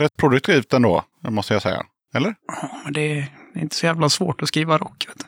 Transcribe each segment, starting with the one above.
Rätt produktivt ändå, måste jag säga. Eller? Ja, men det är, det är inte så jävla svårt att skriva rock. Vet du.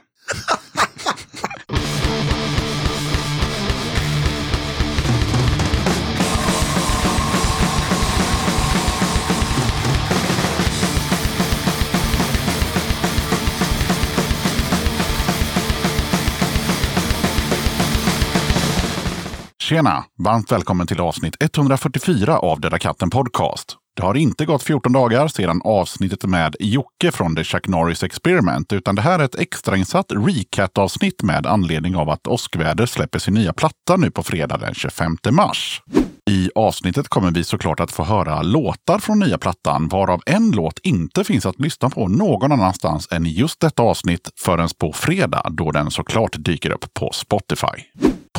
Tjena! Varmt välkommen till avsnitt 144 av Döda katten podcast. Det har inte gått 14 dagar sedan avsnittet med Jocke från The Chuck Norris Experiment, utan det här är ett extrainsatt recap-avsnitt med anledning av att Åskväder släpper sin nya platta nu på fredag den 25 mars. I avsnittet kommer vi såklart att få höra låtar från nya plattan, varav en låt inte finns att lyssna på någon annanstans än i just detta avsnitt förrän på fredag, då den såklart dyker upp på Spotify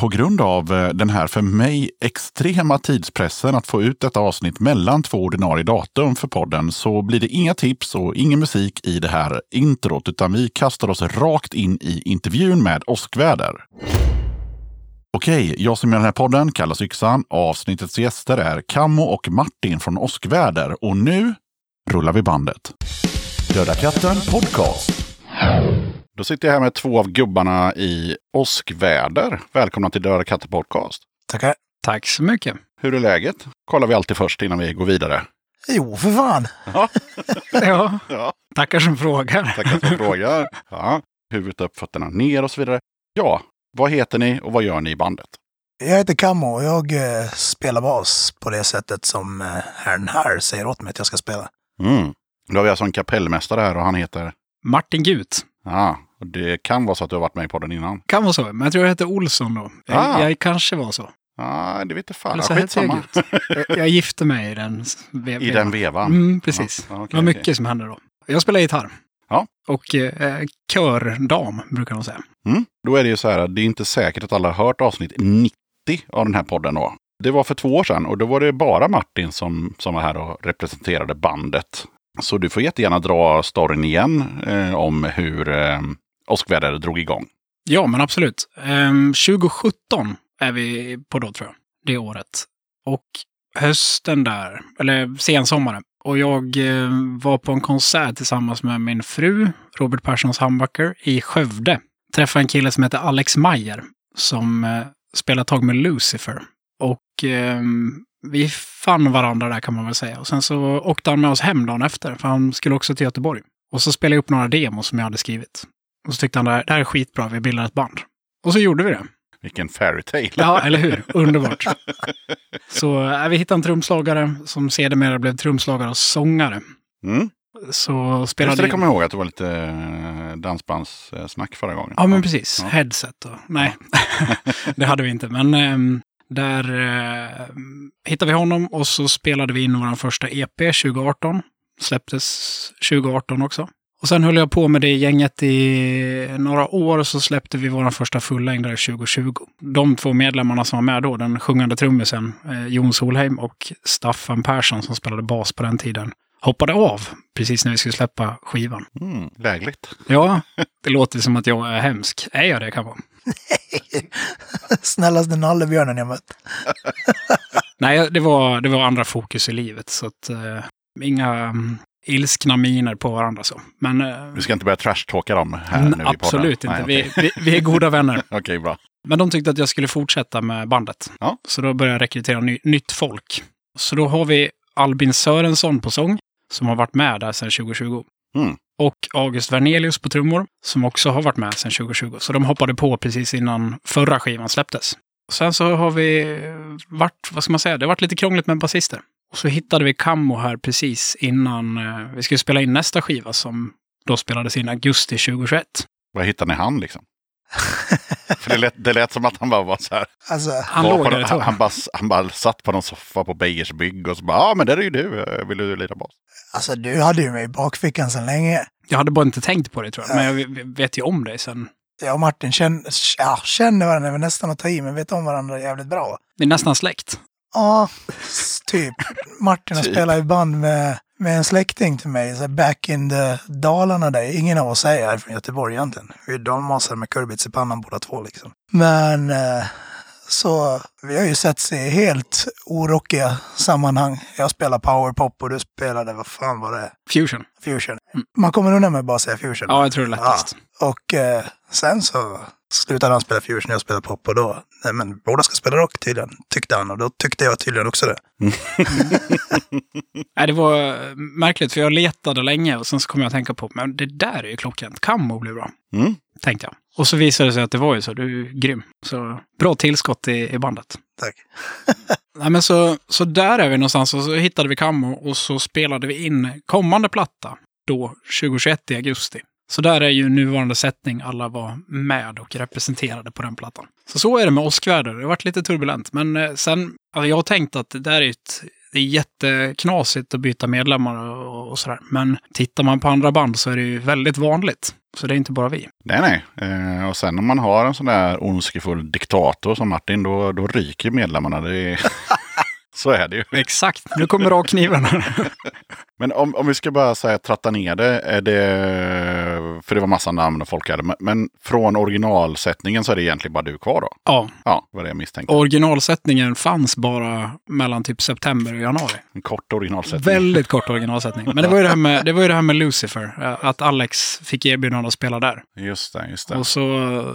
på grund av eh, den här för mig extrema tidspressen att få ut detta avsnitt mellan två ordinarie datum för podden så blir det inga tips och ingen musik i det här introt utan vi kastar oss rakt in i intervjun med Oskväder. Okej, jag som gör den här podden kallas Yxan. Avsnittets gäster är Kammo och Martin från Oskväder och nu rullar vi bandet. Döda katten podcast. Då sitter jag här med två av gubbarna i åskväder. Välkomna till Döda katter podcast. Tackar. Tack så mycket. Hur är läget? kollar vi alltid först innan vi går vidare. Jo, för fan. Ja, Ja, tackar som frågar. tackar för frågan. Ja, huvudet upp, fötterna ner och så vidare. Ja, vad heter ni och vad gör ni i bandet? Jag heter Kammo och jag eh, spelar bas på det sättet som eh, herrn här säger åt mig att jag ska spela. Mm. Då har vi alltså en kapellmästare här och han heter... Martin Gut. Ja, och det kan vara så att du har varit med i podden innan. Kan vara så, men jag tror jag hette Olsson då. Jag, Ah. jag kanske var så. Ja, det vet inte fan. Eller så hette jag Skitsamma. Gut. Jag, jag gifte mig i den vevan. I den vevan. Mm, precis. Ja, Det okej, var okej. mycket som hände då. Jag spelar gitarr. Ja. Och eh, kördam, brukar de säga. Mm. Då är det ju så här, att det är inte säkert att alla har hört avsnitt 90 av den här podden då. Det var för två år sedan och då var det bara Martin som, som var här och representerade bandet. Så du får jättegärna dra storyn igen eh, om hur eh, Åskväder drog igång. Ja, men absolut. Ehm, 2017 är vi på då, tror jag. Det året. Och hösten där, eller sensommaren. Och jag eh, var på en konsert tillsammans med min fru, Robert Perssons Humbucker, i Skövde. Träffade en kille som heter Alex Mayer som eh, spelar tag med Lucifer. Och ehm, vi fann varandra där kan man väl säga. Och sen så åkte han med oss hem dagen efter, för han skulle också till Göteborg. Och så spelade jag upp några demos som jag hade skrivit. Och så tyckte han det här, det här är skitbra, vi bildar ett band. Och så gjorde vi det. Vilken fairy tale. Ja, eller hur? Underbart. Så äh, vi hittade en trumslagare som sedermera blev trumslagare och sångare. Mm. Så Just det, spelade det kommer jag ihåg att det var lite eh, dansbandssnack förra gången. Ja, men precis. Ja. Headset och... Nej, det hade vi inte. Men ehm, där eh, hittade vi honom och så spelade vi in vår första EP 2018. Släpptes 2018 också. Och sen höll jag på med det gänget i några år och så släppte vi vår första fullängdare 2020. De två medlemmarna som var med då, den sjungande trummisen eh, Jon Solheim och Staffan Persson som spelade bas på den tiden, hoppade av precis när vi skulle släppa skivan. Mm. Lägligt. Ja, det låter som att jag är hemsk. Är jag det kanske? Snällaste nallebjörnen jag mött. Nej, det var, det var andra fokus i livet. Så att, eh, inga mm, ilskna miner på varandra. Så. Men eh, Vi ska inte börja trashtalka dem här n- nu i podden. absolut inte. Nej, Okej, vi, vi, vi är goda vänner. Okej, bra. Men de tyckte att jag skulle fortsätta med bandet. Ja. Så då började jag rekrytera ny, nytt folk. Så då har vi Albin Sörensson på sång, som har varit med där sedan 2020. Mm. Och August Wernelius på trummor, som också har varit med sedan 2020. Så de hoppade på precis innan förra skivan släpptes. Sen så har vi varit, vad ska man säga, det har varit lite krångligt med basister. Och så hittade vi Kammo här precis innan eh, vi skulle spela in nästa skiva som då spelades in augusti 2021. Var hittar ni han liksom? För det lät, det lät som att han bara var så här. Alltså, Han var på låg där någon- ett han, tag. han, bara, han bara satt på någon soffa på Beijers bygg och så bara, ja ah, men där är ju du, Eh, vill du lira bas? alltså, du hade ju mig i bakfickan sedan länge. Jag hade bara inte tänkt på det tror jag, men jag v- vet ju om dig sen. Jag och Martin känner, ja, känner varandra, är väl nästan att ta i, men vet om varandra jävligt bra. Ni är nästan släkt. Ja, s- typ. Martin har Typ. spelat i band med, med en släkting till mig, så här back in the Dalarna där. Ingen av oss är här från Göteborg egentligen. Vi är dalmasar med kurbits i pannan båda två liksom. Men eh, Så vi har ju sett i helt orockiga sammanhang. Jag spelar powerpop och du spelade, vad fan var det? Fusion. Fusion. Mm. Man kommer undan med att bara säga fusion. Ja, jag tror det är lättast. Och eh, sen så slutade han spela fusion och jag spelade pop och då, nej men båda ska spela rock tydligen, tyckte han. Och då tyckte jag tydligen också det. Nej, det var eh, märkligt, för jag letade länge och sen så kom jag att tänka på, men det där är ju klockrent. Kammo blir bra, Mm. tänkte jag. Och så visade det sig att det var ju så. Du är grym. Så bra tillskott i, i bandet. Tack. Nej, men så, så där är vi någonstans och så hittade vi Kammo och så spelade vi in kommande platta då 2021 i augusti. Så där är ju nuvarande sättning alla var med och representerade på den plattan. Så så är det med åskväder. Det har varit lite turbulent. Men eh, sen, alltså jag har tänkt att det där är ett det är jätteknasigt att byta medlemmar och, och sådär. Men tittar man på andra band så är det ju väldigt vanligt. Så det är inte bara vi. Nej, nej. Eh, och sen om man har en sån där ondskefull diktator som Martin, då, då ryker medlemmarna. Det är... Så är det ju. Exakt, nu kommer rakkniven. Men om, om vi ska bara säga tratta ner det, är det, för det var massa namn och folk hade, men- men från originalsättningen så är det egentligen bara du kvar då? ja, Ja, vad det jag misstänkte. originalsättningen fanns bara mellan typ september och januari. En kort originalsättning. Väldigt kort originalsättning. Men det var ju det här med, det var ju det här med Lucifer, eh, att Alex fick erbjudande att spela där. Just det, just det. Och så, eh,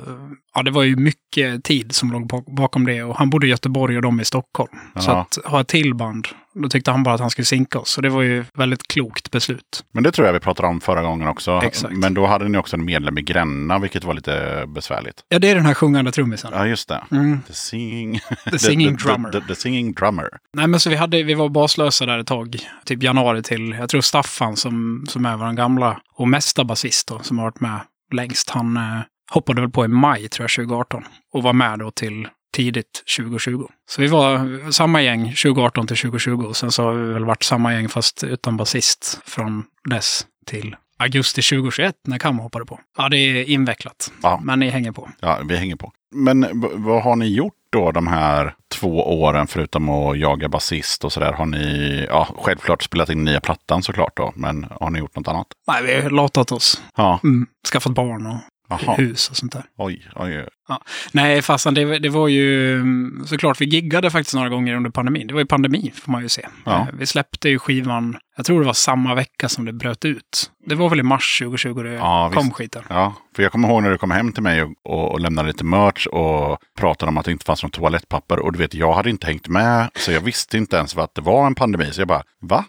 ja det var ju mycket tid som låg bak- bakom det och han bodde i Göteborg och de i Stockholm. Så Ja. att ha ett till band, då tyckte han bara att han skulle sinka oss. Så det var ju väldigt klokt beslut. Men det tror jag vi pratade om förra gången också. Exakt. Men då hade ni också en medlem i Gränna, vilket var lite besvärligt. Ja, det är den här sjungande trummisen. Ja, just det. Mm, The singing, the singing the, the, drummer. The, the, singing drummer. Nej, men så vi, hade, vi var baslösa där ett tag. Typ januari till, jag tror Staffan som, som är vår gamla och mesta basist då, som har varit med längst. Han eh, hoppade väl på i maj, tror jag, 2018. Och var med då till tidigt 2020. Så vi var samma gäng 2018 till 2020. Och sen så har vi väl varit samma gäng fast utan basist från dess till augusti 2021 när Kam hoppade på. Ja, det är invecklat. Ja. Men ni hänger på. Ja, vi hänger på. Men v- vad har ni gjort då de här två åren förutom att jaga basist och sådär? Har ni, ja, självklart spelat in nya plattan såklart då, men har ni gjort något annat? Nej, vi har latat oss. Ja, Mm. Skaffat barn och jaha. hus och sånt där. Oj, oj, oj. Nej, fasen, det, det var ju mm, såklart, vi giggade faktiskt några gånger under pandemin. Det var ju pandemi, får man ju se. Ja. Eh, Vi släppte ju skivan, jag tror det var samma vecka som det bröt ut. Det var väl i mars 2020 det Ja, kom visst. skiten. Ja, för jag kommer ihåg när du kom hem till mig och, och, och lämnade lite merch och pratade om att det inte fanns något toalettpapper. Och du vet, jag hade inte hängt med, så jag visste inte ens vad att det var en pandemi. Så jag bara, va?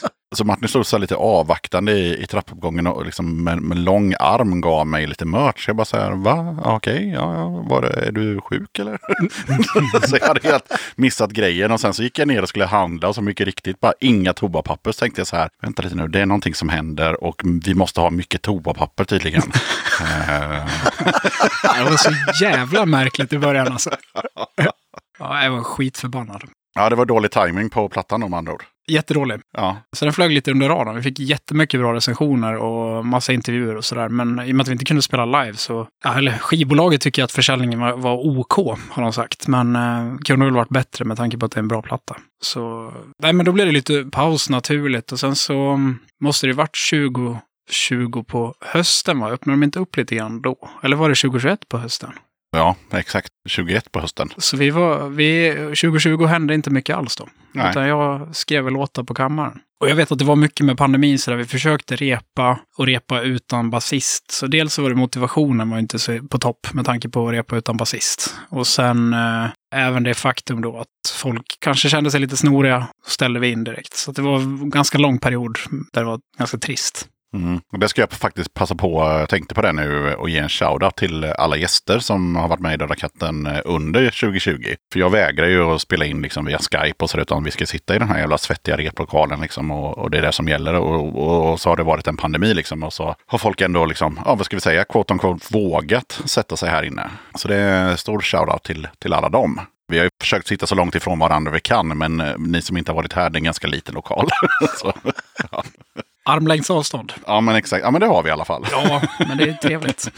Så Alltså, Martin stod så här lite avvaktande i, i trappuppgången och liksom med, med lång arm gav mig lite merch. Jag bara så här, va? Ja, Okej, ja, ja, var det, är du sjuk eller? så jag hade helt missat grejen och sen så gick jag ner och skulle handla och så mycket riktigt, bara inga toapapper. Så tänkte jag så här, vänta lite nu, det är någonting som händer och vi måste ha mycket toapapper tydligen. Eh, Det var så jävla märkligt i början alltså. Ja, jag var skitförbannad. ja, det var dålig timing på plattan om andra ord. Jättedålig. Ja, Så den flög lite under radarn. Vi fick jättemycket bra recensioner och massa intervjuer och sådär. Men i och med att vi inte kunde spela live så... Ja, eller skivbolaget tycker att försäljningen var, var OK, har de sagt. Men eh, kunde väl varit bättre med tanke på att det är en bra platta. Så... Nej, men då blev det lite paus naturligt. Och sen så mm, måste det ju varit 20... 20 på hösten va? Öppnade de inte upp lite grann då? Eller var det 2021 på hösten? ja exakt. 21 på hösten. Så vi var, vi, 2020 hände inte mycket alls då. Nej. Utan jag skrev väl låtar på kammaren. Och jag vet att det var mycket med pandemin så där vi försökte repa och repa utan basist. Så dels så var det motivationen var ju inte så på topp med tanke på att repa utan basist. Och sen eh, även det faktum då att folk kanske kände sig lite snoriga ställde vi in direkt. Så att det var en ganska lång period där det var ganska trist. Mm. Och Det ska jag faktiskt passa på, jag tänkte på det nu, och ge en shoutout till alla gäster som har varit med i Döda katten eh, under 2020. För jag vägrar ju att spela in liksom via Skype och sådär, utan vi ska sitta i den här jävla svettiga replokalen liksom, och, och det är det som gäller. Och, och, och så har det varit en pandemi liksom, och så har folk ändå, liksom, ja, vad ska vi säga, quote on quote, vågat sätta sig här inne. Så det är en stor shoutout till, till alla dem. Vi har ju försökt sitta så långt ifrån varandra vi kan, men eh, ni som inte har varit här, det är en ganska liten lokal. så, Armlängds avstånd. ja, men exakt. Ja, men det har vi i alla fall. Ja, men det är trevligt.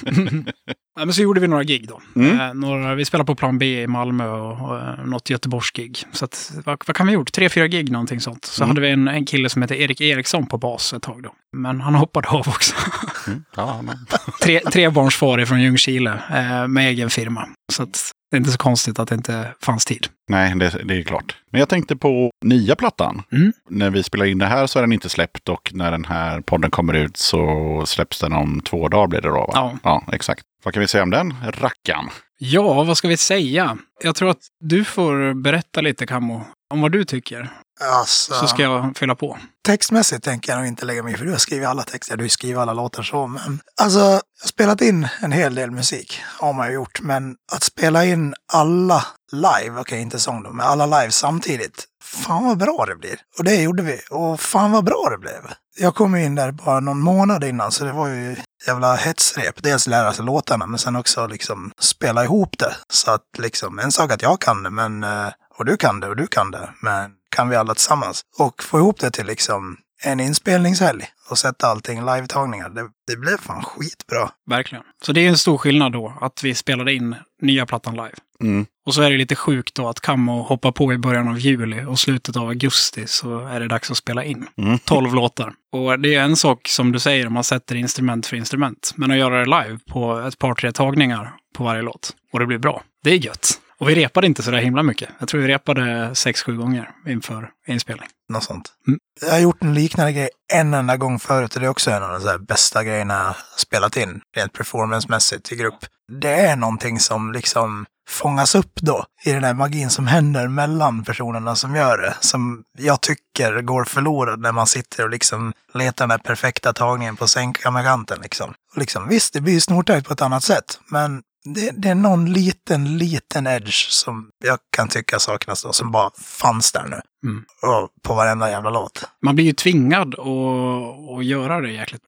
Nej, men så gjorde vi några gig då. Mm. Eh, några, vi spelade på Plan B i Malmö och, och eh, något Göteborgsgig. Så att, vad, vad kan vi ha gjort? Tre, fyra gig någonting sånt. Så Mm. hade vi en, en kille som hette Erik Eriksson på bas ett tag då. Men han hoppade av också. Mm. Ja, men. tre, trebarnsfar från Ljungskile eh, med egen firma. Så att, Det är inte så konstigt att det inte fanns tid. Nej, det, det är klart. Men jag tänkte på nya plattan. Mm. När vi spelar in det här så är den inte släppt och när den här podden kommer ut så släpps den om två dagar blir det då va? Ja. exakt. Vad kan vi säga om den rackan? Ja, vad ska vi säga? Jag tror att du får berätta lite, Kammo, om vad du tycker. Alltså, Så ska jag fylla på. Textmässigt tänker jag nog inte lägga mig i, för du har skrivit alla texter, du skriver alla låtar så. Men, alltså, jag har spelat in en hel del musik, har man ju gjort, men att spela in alla live, okej inte sång då, men alla live samtidigt. Fan vad bra det blir! Och det gjorde vi, och fan vad bra det blev! Jag kom in där bara någon månad innan, så det var ju jävla hetsrep. Dels lära sig låtarna, men sen också liksom spela ihop det. Så att liksom, en sak att jag kan det, men eh, och du kan det och du kan det, men kan vi alla tillsammans? Och få ihop det till liksom en inspelningshelg och sätta allting live-tagningar. Det, det blev fan skitbra. Verkligen. Så det är en stor skillnad då, att vi spelade in nya plattan live. Mm. Och så är det lite sjukt då att Kammo hoppar på i början av juli och slutet av augusti så är det dags att spela in. Mm. Tolv låtar. Och det är en sak som du säger, man sätter instrument för instrument. Men att göra det live på ett par tre tagningar på varje låt. Och det blir bra. Det är gött. Och vi repade inte så där himla mycket. Jag tror vi repade sex, sju gånger inför inspelning. Något sånt. Mm. Jag har gjort en liknande grej en enda gång förut och det är också en av de så här bästa grejerna jag spelat in rent performancemässigt i grupp. Det är någonting som liksom fångas upp då i den här magin som händer mellan personerna som gör det. Som jag tycker går förlorad när man sitter och liksom letar den här perfekta tagningen på sängkammarkanten liksom. Och liksom. Visst, det blir snortajt på ett annat sätt, men det, det är någon liten, liten edge som jag kan tycka saknas då, som bara fanns där nu. Mm. Och på varenda jävla låt. Man blir ju tvingad att, att göra det jäkligt.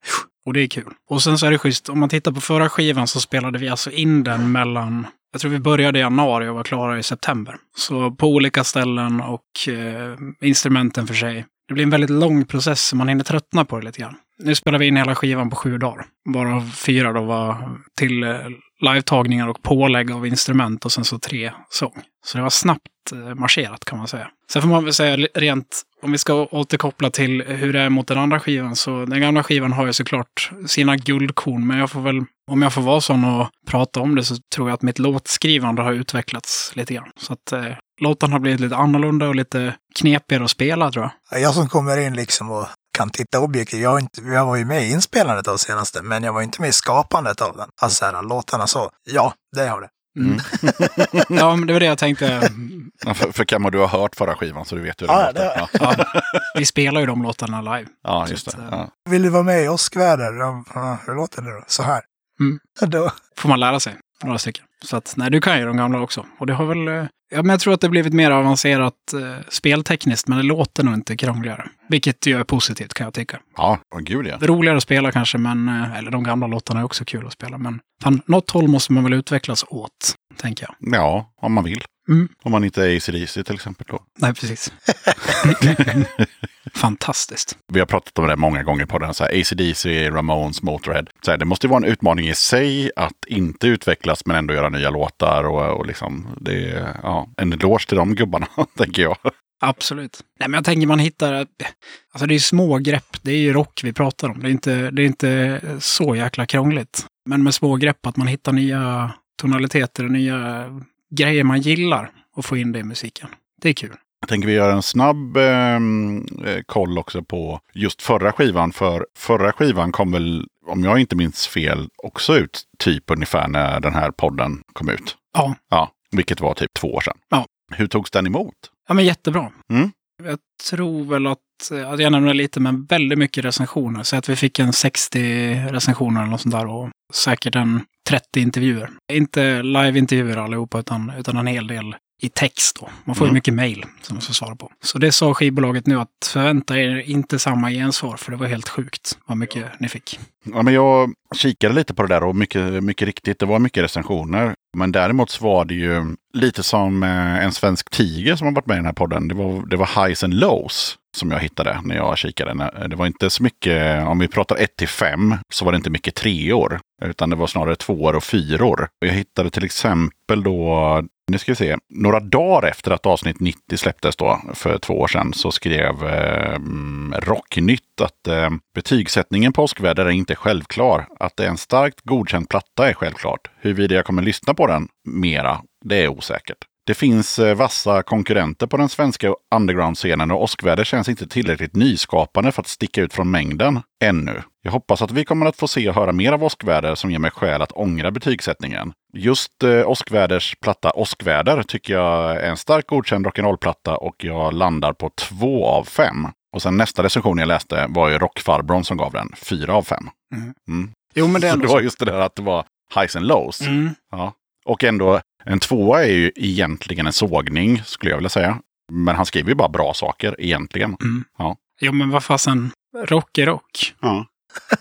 Och det är kul. Och sen så är det schysst, om man tittar på förra skivan så spelade vi alltså in den mellan, jag tror vi började i januari och var klara i september. Så på olika ställen och eh, instrumenten för sig. Det blir en väldigt lång process så man hinner tröttna på det lite grann. Nu spelar vi in hela skivan på sju dagar. Bara fyra då var till eh, livetagningar och pålägg av instrument och sen så tre sång. Så det var snabbt eh, marscherat kan man säga. Sen får man väl säga li- rent, om vi ska återkoppla till hur det är mot den andra skivan, så den gamla skivan har ju såklart sina guldkorn, men jag får väl, om jag får vara sån och prata om det så tror jag att mitt låtskrivande har utvecklats lite grann. Så att eh, låtarna har blivit lite annorlunda och lite knepigare att spela tror jag. Jag som kommer in liksom och kan titta objektivt. Jag, har inte, jag var ju med i inspelandet av senaste, men jag var inte med i skapandet av den. Alltså så här, låtarna så. Ja, det har det. Mm. ja, men det var det jag tänkte. Ja, För, för Kammo, du har hört förra skivan så du vet hur det Ja, låter. det har Ja, Ja, vi spelar ju de låtarna live. ja, just det. Ja. Vill du vara med i åskväder? Ja, ja, Hur låter det då? Så här. Mm. Då, får man lära sig några stycken. Så att, nej, du kan ju de gamla också. Och det har väl, eh, ja, men jag tror att det blivit mer avancerat eh, speltekniskt, men det låter nog inte krångligare. Vilket ju är positivt kan jag tycka. Ja, åh gud ja. Det är roligare att spela kanske, men, eh, eller de gamla låtarna är också kul att spela, men fan, något håll måste man väl utvecklas åt, tänker jag. Ja, om man vill. Mm. Om man inte är ACDC till exempel då. Nej, precis. Fantastiskt. Vi har pratat om det många gånger på den. Så här, ACDC, Ramones, Motorhead. Så här, det måste ju vara en utmaning i sig att inte utvecklas men ändå göra nya låtar. Och, och liksom, det är ja, en eloge till de gubbarna, tänker jag. Absolut. Nej, men jag tänker man hittar... Alltså det är små grepp. Det är ju rock vi pratar om. Det är inte, det är inte så jäkla krångligt. Men med små grepp, att man hittar nya tonaliteter och nya grejer man gillar och får in det i musiken. Det är kul. Jag tänker vi gör en snabb ehm, eh, koll också på just förra skivan. För förra skivan kom väl, om jag inte minns fel, också ut typ ungefär när den här podden kom ut. Ja. Ja, vilket var typ två år sedan. Ja. Hur togs den emot? Ja, men jättebra. Mm. Jag tror väl att, att jag nämnde lite, men väldigt mycket recensioner. Så att vi fick en 60 recensioner eller något sånt där och säkert en 30 intervjuer. Inte live-intervjuer allihopa, utan, utan en hel del i text då. Man får ju Mm. mycket mejl som man ska svara på. Så det sa skivbolaget nu att förvänta er inte samma gensvar, för det var helt sjukt vad mycket ni fick. Ja, men jag kikade lite på det där och mycket, mycket riktigt, det var mycket recensioner. Men däremot så var det ju lite som eh, en svensk tiger som har varit med i den här podden. Det var, det var highs and lows som jag hittade när jag kikade. När- Det var inte så mycket, om vi pratar 1 till 5, så var det inte mycket treor. Utan det var snarare tvåor och fyror. Och Jag hittade till exempel då Nu ska vi se. Några dagar efter att avsnitt 90 släpptes då, för två år sedan, så skrev eh, Rocknytt att eh, betygssättningen Påskväder är inte självklar. Att det är en starkt godkänd platta är självklart. Huruvida jag kommer lyssna på den mera, det är osäkert. Det finns eh, vassa konkurrenter på den svenska underground-scenen och Åskväder känns inte tillräckligt nyskapande för att sticka ut från mängden ännu. Jag hoppas att vi kommer att få se och höra mer av Åskväder som ger mig skäl att ångra betygssättningen. Just eh, Åskväders platta Åskväder tycker jag är en starkt godkänd rock'n'roll-platta och jag landar på två av fem. Och sen nästa recension jag läste var ju Rockfarbrorn som gav den fyra av fem. Mm. Jo, men det är Så ändå det var just det där att det var highs and lows. så. Mm. Ja. Och ändå, en tvåa är ju egentligen en sågning, skulle jag vilja säga. Men han skriver ju bara bra saker, egentligen. Jo, men vad fasen. Rock är rock. Ja.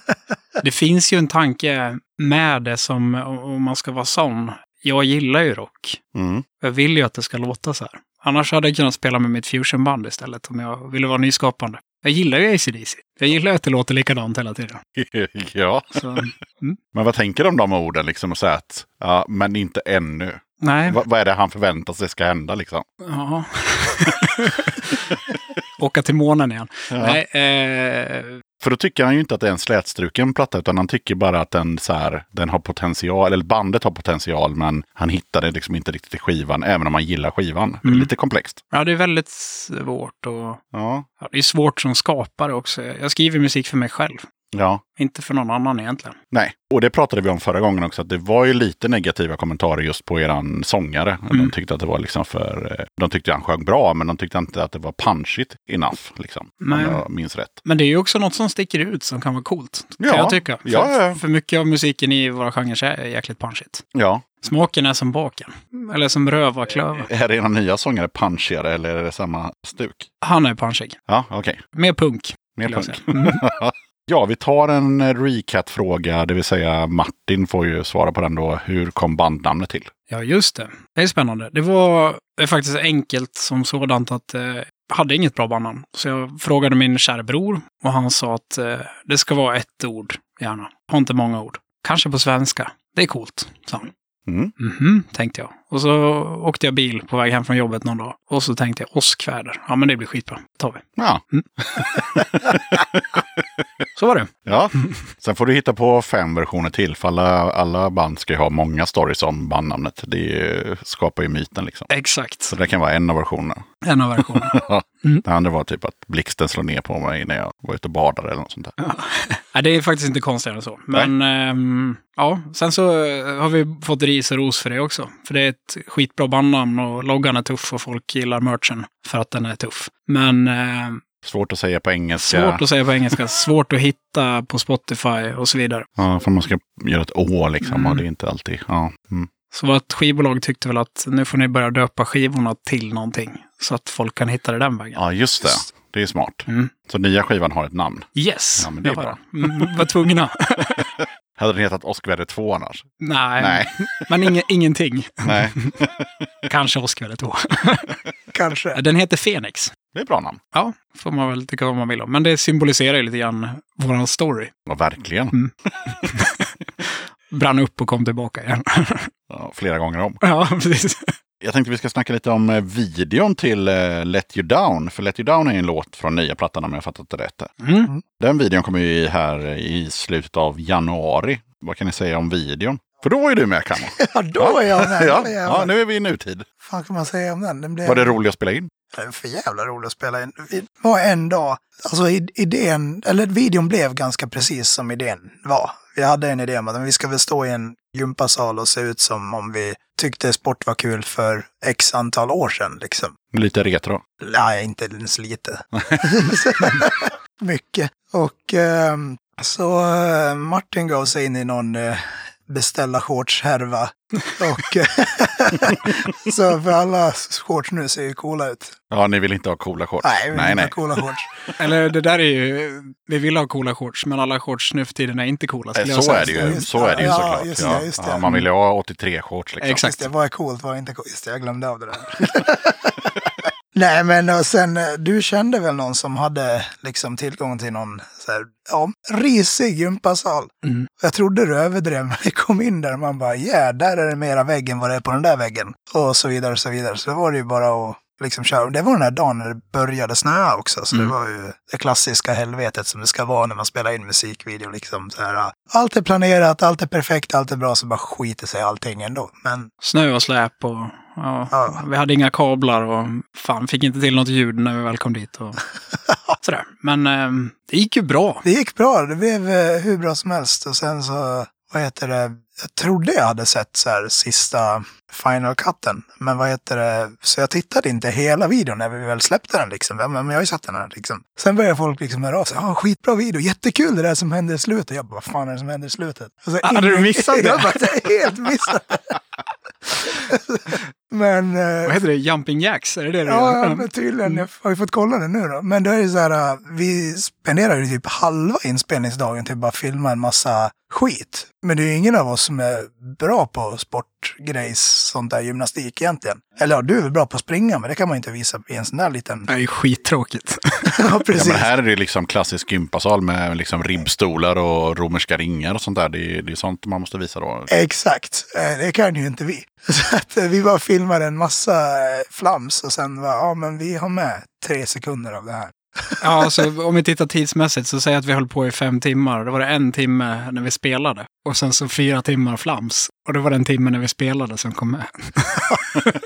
Det finns ju en tanke med det som, om man ska vara sån. Jag gillar ju rock. Mm. Jag vill ju att det ska låta så här. Annars hade jag kunnat spela med mitt fusionband istället om jag ville vara nyskapande. Jag gillar ju ACDC. Jag gillar ju att det låter likadant hela tiden. ja. Så, Men vad tänker du om de orden, liksom? Och säga att, ja, men inte ännu. nej, Va, vad är det han förväntar sig ska hända, liksom? ja. Åka till månen igen. Ja. Nej, eh, För då tycker han ju inte att det är en slätstruken platta, utan han tycker bara att den, så här, den har potential, eller bandet har potential, men han hittar det liksom inte riktigt i skivan, även om han gillar skivan. Det är Mm. lite komplext. ja, det är väldigt svårt och Ja. ja, det är svårt som skapare också. Jag skriver musik för mig själv, Ja. inte för någon annan egentligen. Nej, och det pratade vi om förra gången också, att det var ju lite negativa kommentarer just på eran sångare. De Mm. tyckte att det var liksom för... eh, De tyckte han sjöng bra, men de tyckte inte att det var punchigt enough, liksom. Om Nej. jag minns rätt. Men det är ju också något som sticker ut som kan vara coolt, Ja, kan jag tycka. För, ja, ja. för mycket av musiken i våra genrer är jäkligt punchigt. Ja. Smaken är som baken. Eller som rövarklöven. Är era nya sångare punchigare eller är det samma stuk? Han är punchig. Ja, okej. Mer punk. Mer skulle jag punk. säga. Mm. Ja, vi tar en eh, recap-fråga, det vill säga Martin får ju svara på den då. Hur kom bandnamnet till? Ja, just det. Det är spännande. Det var det är faktiskt enkelt som sådant att eh, jag hade inget bra bandnamn. Så jag frågade min kära bror och han sa att eh, det ska vara ett ord, gärna. Har inte många ord. Kanske på svenska. Det är coolt, sa han. Mm. Mhm, tänkte jag. Och så åkte jag bil på väg hem från jobbet någon dag. Och så tänkte jag åskväder. Ja, men det blir skitbra. Det tar vi. Ja. Så var det. ja. Sen får du hitta på fem versioner till, för alla, alla band ska ju ha många stories om bandnamnet. Det är ju- skapar ju myten liksom. Exakt. Så det kan vara en av versionerna. En av versionerna. Det andra var typ att blixten slår ner på mig när jag var ute och badade eller något sånt där. Nej, det är faktiskt inte konstigare än så. Men ehm, ja, sen så eh, har vi fått ris och ros för det också. För det är ett skitbra bandnamn och loggan är tuff och folk gillar merchen för att den är tuff. Men eh, Svårt att säga på engelska. svårt att säga på engelska, svårt att hitta på Spotify och så vidare. Ja, för man ska göra ett å liksom och Mm. det är inte alltid. Ja. Mm. Så vårt skivbolag tyckte väl att nu får ni börja döpa skivorna till någonting så att folk kan hitta det den vägen. ja, just det. Det är smart. Mm. Så nya skivan har ett namn. Yes! Ja, men det är Jag bra. Mm, var tvungna. Hade den hetat Åskväder 2 annars? Nej, Nej. men inge, ingenting. Nej. Kanske Åskväder 2. Kanske. Den heter Fenix. Det är ett bra namn. Ja, får man väl tycka vad man vill om. Men det symboliserar ju lite grann våran story. Ja, verkligen. Brann upp och kom tillbaka igen. Ja, flera gånger om. ja, precis. Jag tänkte vi ska snacka lite om eh, videon till eh, Let You Down. För Let You Down är en låt från nya plattan om jag fattat det rätt. Mm. Den videon kommer ju här eh, i slutet av januari. Vad kan ni säga om videon? För då var ju du med Kalle. Ja, då är jag med. ja, Jävlar. ja, nu är vi i nutid. fan kan man säga om den? Den blev Var det roligt att spela in? Det var för jävla roligt att spela in. Vi var en dag, alltså i- idén, eller videon blev ganska precis som idén var. Vi hade en idé om att vi ska väl stå i en gympasal och se ut som om vi tyckte sport var kul för x antal år sedan liksom. Lite retro. Nej, inte ens lite. Mycket. Och ehm, så eh, Martin gav sig in i någon eh, beställa shorts-härva. Och så för alla shorts nu ser ju coola ut. Ja, ni vill inte ha coola shorts? Nej, vi nej. vill ha nej. coola shorts. Eller det där är ju... Vi vill ha coola shorts, men alla shorts nu för tiden är inte coola. skulle jag Eh, Så säga. är det ju, Just- så är det ju ja, såklart. just det, ja. just det. Ja, man vill ju ha 83 shorts liksom. Exakt. Just det, vad är coolt, vad är inte coolt? Just det, jag glömde av det där. Nej, men och sen, eh, du kände väl någon som hade liksom tillgång till någon så här, ja, risig gympasal. Mm. Jag trodde du överdrev, men vi kom in där och man bara, yeah, där är det mera vägg än vad det är på den där väggen. Och så vidare och så vidare. Så var det ju bara att liksom köra. Det var den här dagen när det började snöa också, så Mm. det var ju det klassiska helvetet som det ska vara när man spelar in musikvideo. Liksom, så här, allt är planerat, allt är perfekt, allt är bra, så bara skiter sig allting ändå. Men Snö och släp och ja, Ja. vi hade inga kablar och fan, fick inte till något ljud när vi väl kom dit. Och, sådär. Men ehm, det gick ju bra. Det gick bra, det blev eh, hur bra som helst. Och sen så, vad heter det, jag trodde jag hade sett så här sista final cutten. Men vad heter det, så jag tittade inte hela videon när vi väl släppte den liksom. Ja, Men jag har ju sett den här liksom. Sen började folk liksom höra av sig. Ja, skitbra video, jättekul det där som hände i slutet. Jag bara, vad fan är det som hände i slutet? Alltså, Ah, hade du missat det? Jag bara, jag har helt missat det. Men... eh, Vad heter det? Jumping jacks? Är det det du Ja, gör? Mm. ja, men tydligen. Jag har ju fått kolla det nu då. Men då är det så här, äh, vi spenderar ju typ halva inspelningsdagen till att bara filma en massa skit. Men det är ju ingen av oss som är bra på sportgrejs, sånt där gymnastik egentligen. Eller ja, du är väl bra på att springa, men det kan man ju inte visa i en sån där liten... Det är ju skittråkigt. ja, Ja, precis. men här är det liksom klassisk gympasal med liksom ribbstolar och romerska ringar och sånt där. Det är, det är sånt man måste visa då. Exakt, Eh, det kan ju inte vi. Så att eh, vi bara filmar en massa eh, flams och sen bara, ja men vi har med tre sekunder av det här. Ja, så om vi tittar tidsmässigt så säger jag att vi höll på i fem timmar. Då var det en timme när vi spelade. Och sen så fyra timmar flams. Och det var den timmen när vi spelade som kom med.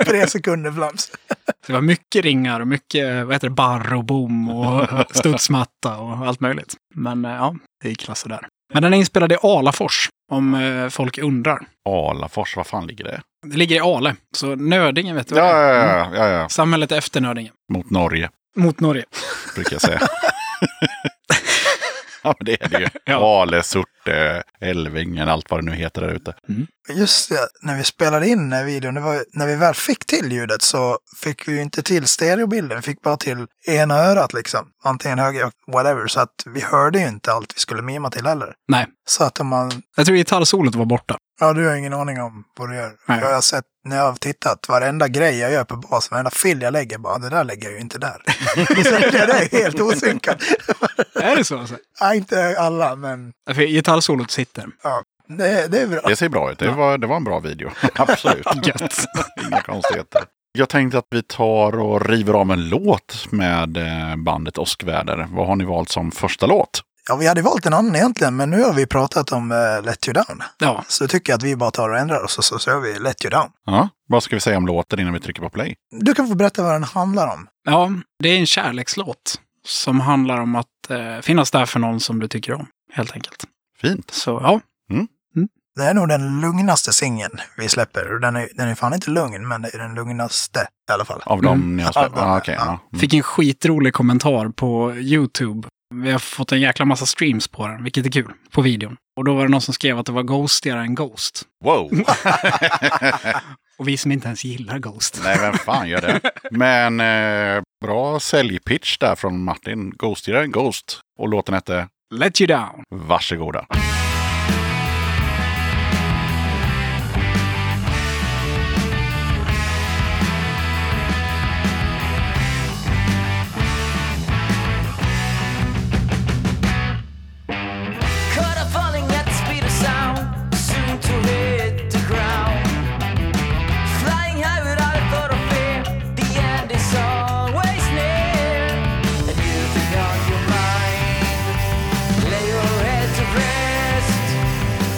Tre sekunder flams. Så det var mycket ringar och mycket vad heter det, barr och bom och studsmatta och allt möjligt. Men eh, ja, det gick klasse där. Men den är inspelad i Alafors, om eh, folk undrar. Alafors, var fan ligger det? Det ligger i Ale, så Nödingen vet du vad det Ja, är? ja, Mm. ja, ja, ja. Samhället efter Nödingen, Mot Norge, mot Norge. brukar jag säga. ja, men det är det ju. Ja. Ale, Surte, Älvängen, allt vad det nu heter där ute. Just det, när vi spelade in den här videon, det var, ju- när vi väl fick till ljudet så fick vi ju inte till stereobilden, vi fick bara till ena örat liksom. Antingen höger, whatever, så att vi hörde ju inte allt vi skulle mima till heller. Nej, Så att om man, jag tror gitarrsolot var borta. ja du har ingen aning om vad du gör. Nej. Jag har sett, när jag har tittat, varenda grej jag gör på bas, varenda fill jag lägger, bara "Ah, det där lägger jag ju inte där. så det där är helt osynkat. Är det så? Alltså? Nej, inte alla, men Ja, För gitarrsolot sitter. det, det är bra. Det ser bra ut. Det var, det var en bra video. Absolut. Gött. Inga konstigheter. Jag tänkte att vi tar och river av en låt med eh, bandet Åskväder. Vad har ni valt som första låt? Ja, vi hade valt en annan egentligen, men nu har vi pratat om eh, Let You Down. Ja, Så tycker jag att vi bara tar och ändrar oss och så kör vi Let You Down. Ja. Vad ska vi säga om låten innan vi trycker på play? Du kan få berätta vad den handlar om. Ja, det är en kärlekslåt som handlar om att eh, finnas där för någon som du tycker om, helt enkelt. Fint. Så ja, Det är nog den lugnaste singeln vi släpper. Och Den är, den är fan inte lugn, men det är den lugnaste i alla fall. Av dem Mm. ni har spelat? Av dem, Ah, okej, ja. ja. Mm. fick en skitrolig kommentar på YouTube. Vi har fått en jäkla massa streams på den, vilket är kul, på videon. Och då var det någon som skrev att det var ghostigare än Ghost. Wow! Och vi som inte ens gillar Ghost. Nej, vem fan gör det? Men eh, bra säljpitch där från Martin. Ghostigare än Ghost. Och låten hette Let you down. Varsågoda. Caught up falling at the speed of sound, soon to hit the ground. Flying high without a thought of fear, the end is always near. And you think on your mind, lay your head to rest.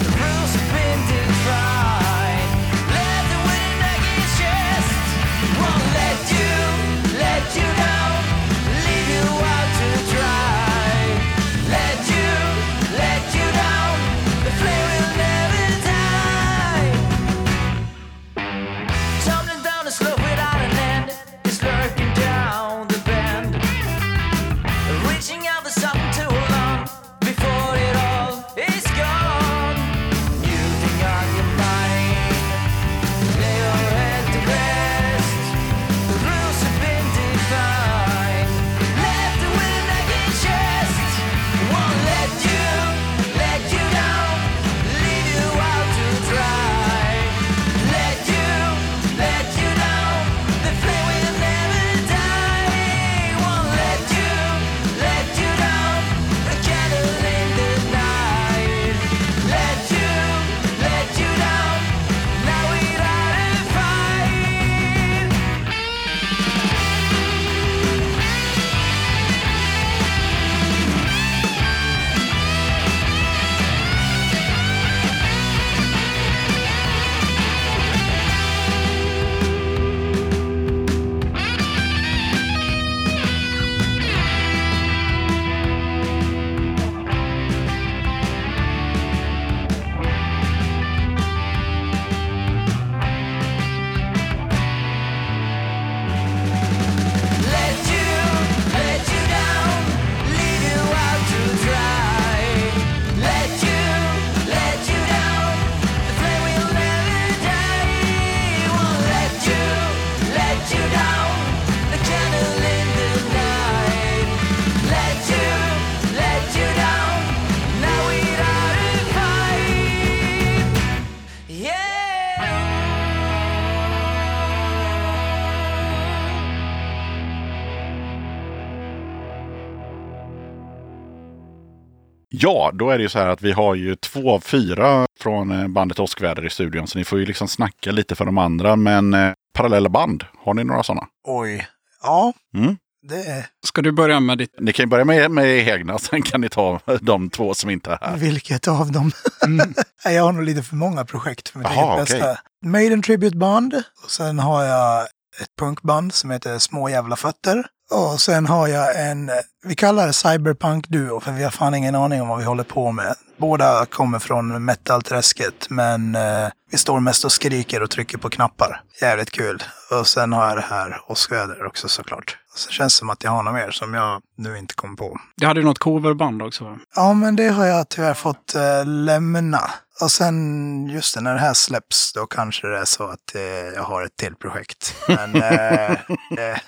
Ja, då är det ju så här att vi har ju två av fyra från eh, bandet Åskväder i studion. Så ni får ju liksom snacka lite för de andra. Men eh, parallella band, har ni några sådana? Oj. Ja, Mm. det är... Ska du börja med ditt? Ni kan ju börja med, med egna, sen kan ni ta de två som inte är här. Vilket av dem? Mm. Nej, Jag har nog lite för många projekt för mitt Jaha, eget bästa. okej. Maiden Tribute Band. Och sen har jag ett punkband som heter Små Jävla Fötter. Och sen har jag en, vi kallar det cyberpunk-duo för vi har fan ingen aning om vad vi håller på med. Båda kommer från metal-träsket men eh, vi står mest och skriker och trycker på knappar. Jävligt kul. Och sen har jag det här åskväder också såklart. Så känns det som att jag har något mer som jag nu inte kom på. Du hade ju något coverband också. va? Ja, men det har jag tyvärr fått eh, lämna. Och sen, just det, när det här släpps, då kanske det är så att eh, jag har ett till projekt. Men eh, eh,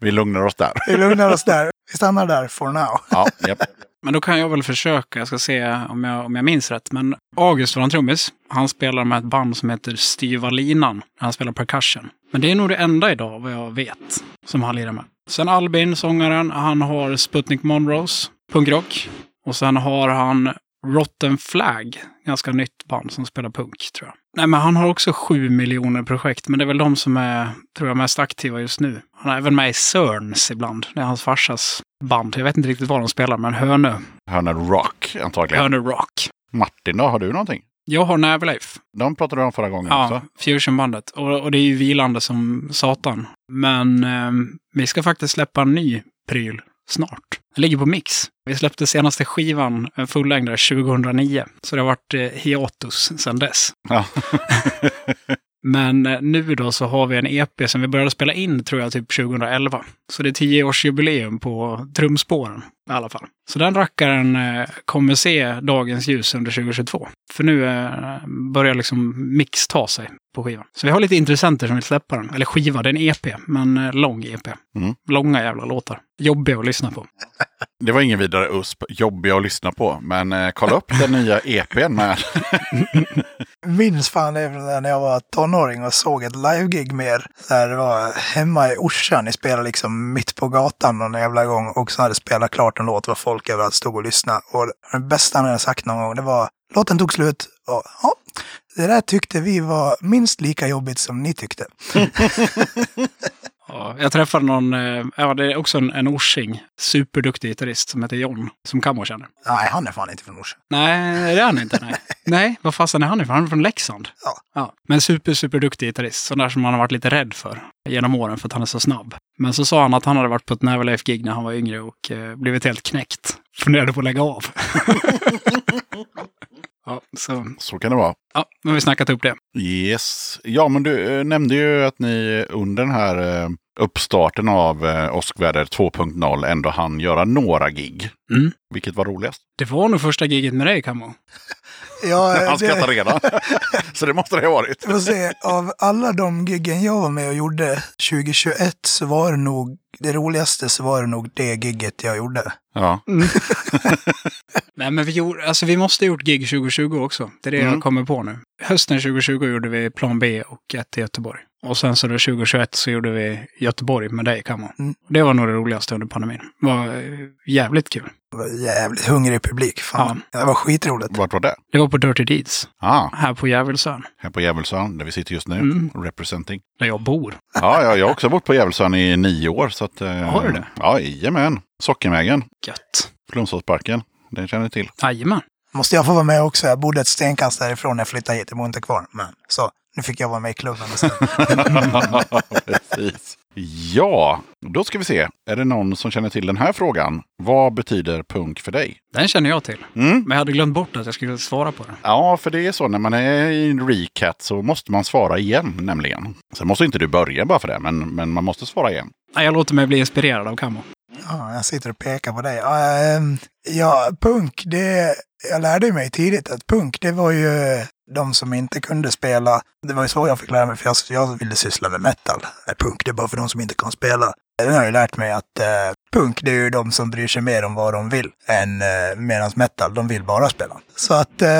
Vi lugnar oss där. vi lugnar oss där. Vi stannar där for now. Ja, japp. Men då kan jag väl försöka. Jag ska se om jag, om jag minns rätt. Men August, våran trummis, han spelar med ett band som heter Styva Linan. Han spelar percussion. Men det är nog det enda idag, vad jag vet, som han lirar med. Sen Albin, sångaren, han har Sputnik Monroes, punkrock. Och sen har han Rotten Flag, ganska nytt band som spelar punk, tror jag. Nej, men han har också sju miljoner projekt, men det är väl de som är, tror jag, mest aktiva just nu. Han är även med i Cerns ibland. Det är hans farsas band. Jag vet inte riktigt vad de spelar, men Hönö Hörna Rock antagligen. Hörner Rock. Martin då, har du någonting? Jag har Navlife. De pratade du om förra gången Ja, också. Fusionbandet. Och, och det är ju vilande som satan. Men ehm, vi ska faktiskt släppa en ny pryl snart. Den ligger på Mix. Vi släppte senaste skivan, en fullängdare, 2009. Så det har varit eh, hiatus sedan dess. Ja. Men eh, nu då så har vi en EP som vi började spela in tror jag typ 2011. Så det är 10-årsjubileum på trumspåren i alla fall. Så den rackaren eh, kommer se dagens ljus under 2022. För nu eh, börjar liksom mix ta sig på skivan. Så vi har lite intressenter som vill släppa den. Eller skiva, det är en EP, men eh, lång EP. Mm. Långa jävla låtar. Jobbiga att lyssna på. Det var ingen vidare USP, jobbiga att lyssna på. Men eh, kolla upp den nya EPn med. Minns fan det från när jag var tonåring och såg ett livegig med er. Så här, Det var hemma i Orsa, ni spelade liksom mitt på gatan någon jävla gång och så hade spelat klart en låt var folk överallt stod och lyssnade. Och det bästa han hade sagt någon gång, det var låten tog slut och ja, det där tyckte vi var minst lika jobbigt som ni tyckte. Ja, Jag träffade någon, eh, ja det är också en, en orsing, superduktig gitarrist som heter John, som Kammo känner. Nej, han är fan inte från Orsa. Nej, det är han inte. Nej, nej vad fasen är han ifrån? Han är från Leksand. Ja. Men super, super duktig gitarrist. Sån där som man har varit lite rädd för genom åren för att han är så snabb. Men så sa han att han hade varit på ett Neverlife-gig när han var yngre och eh, blivit helt knäckt. Funderade på att lägga av. ja, så, Så kan det vara. ja, nu har vi snackat upp det. Yes. Ja, men du eh, nämnde ju att ni under den här eh, uppstarten av eh, Åskväder 2.0 ändå hann göra några gig. Mm. Vilket var roligast? Det var nog första giget med dig, Kammo. Ja, Han Eh, det, skrattar redan. Så det måste det ha varit. jag får se, av alla de giggen jag var med och gjorde 2021 så var det nog det roligaste så var det nog det gigget jag gjorde. Ja. Nej, men vi, gjorde, alltså, vi måste ha gjort gig 2020 också. Det är det Mm. jag kommer på nu. Hösten 2020 gjorde vi Plan B och ett i Göteborg. Och sen så då 2021 så gjorde vi Göteborg med dig, Kammo. Mm. Det var nog det roligaste under pandemin. Det var eh, jävligt kul. Jag var jävligt hungrig publik. Fan. Det var skitroligt. Vart var det? Det var på Dirty Deeds, Ah, här på Djävulsön, här på Djävulsön där vi sitter just nu. Mm. Representing. där jag bor. Ja, ja, jag har också bott på Djävulsön i nio år. Så att, eh, Har du det? Ja, jajamän. Sockenvägen, Gött. Flumsåsparken. Den känner ni till. Jajamän. Måste jag få vara med också? Jag bodde ett stenkast därifrån när jag flyttade hit. Jag bor inte kvar. Men, så nu fick jag vara med i klubben istället. Precis. Ja, då ska vi se. Är det någon som känner till den här frågan? Vad betyder punk för dig? Den känner jag till. Mm. Men jag hade glömt bort att jag skulle svara på den. Ja, för det är så när man är i en recat så måste man svara igen nämligen. Sen måste inte du börja bara för det, men, men man måste svara igen. Nej, jag låter mig bli inspirerad av Kammo. Ja, jag sitter och pekar på dig. Ja, ehm, Ja, punk, det... Jag lärde mig tidigt att punk, det var ju de som inte kunde spela. Det var ju så jag fick lära mig, för jag, jag ville syssla med metal. Nej, Punk, det är bara för de som inte kan spela. Nu har jag ju lärt mig att eh, punk, det är ju de som bryr sig mer om vad de vill än eh, medans metal, de vill bara spela. Så att eh,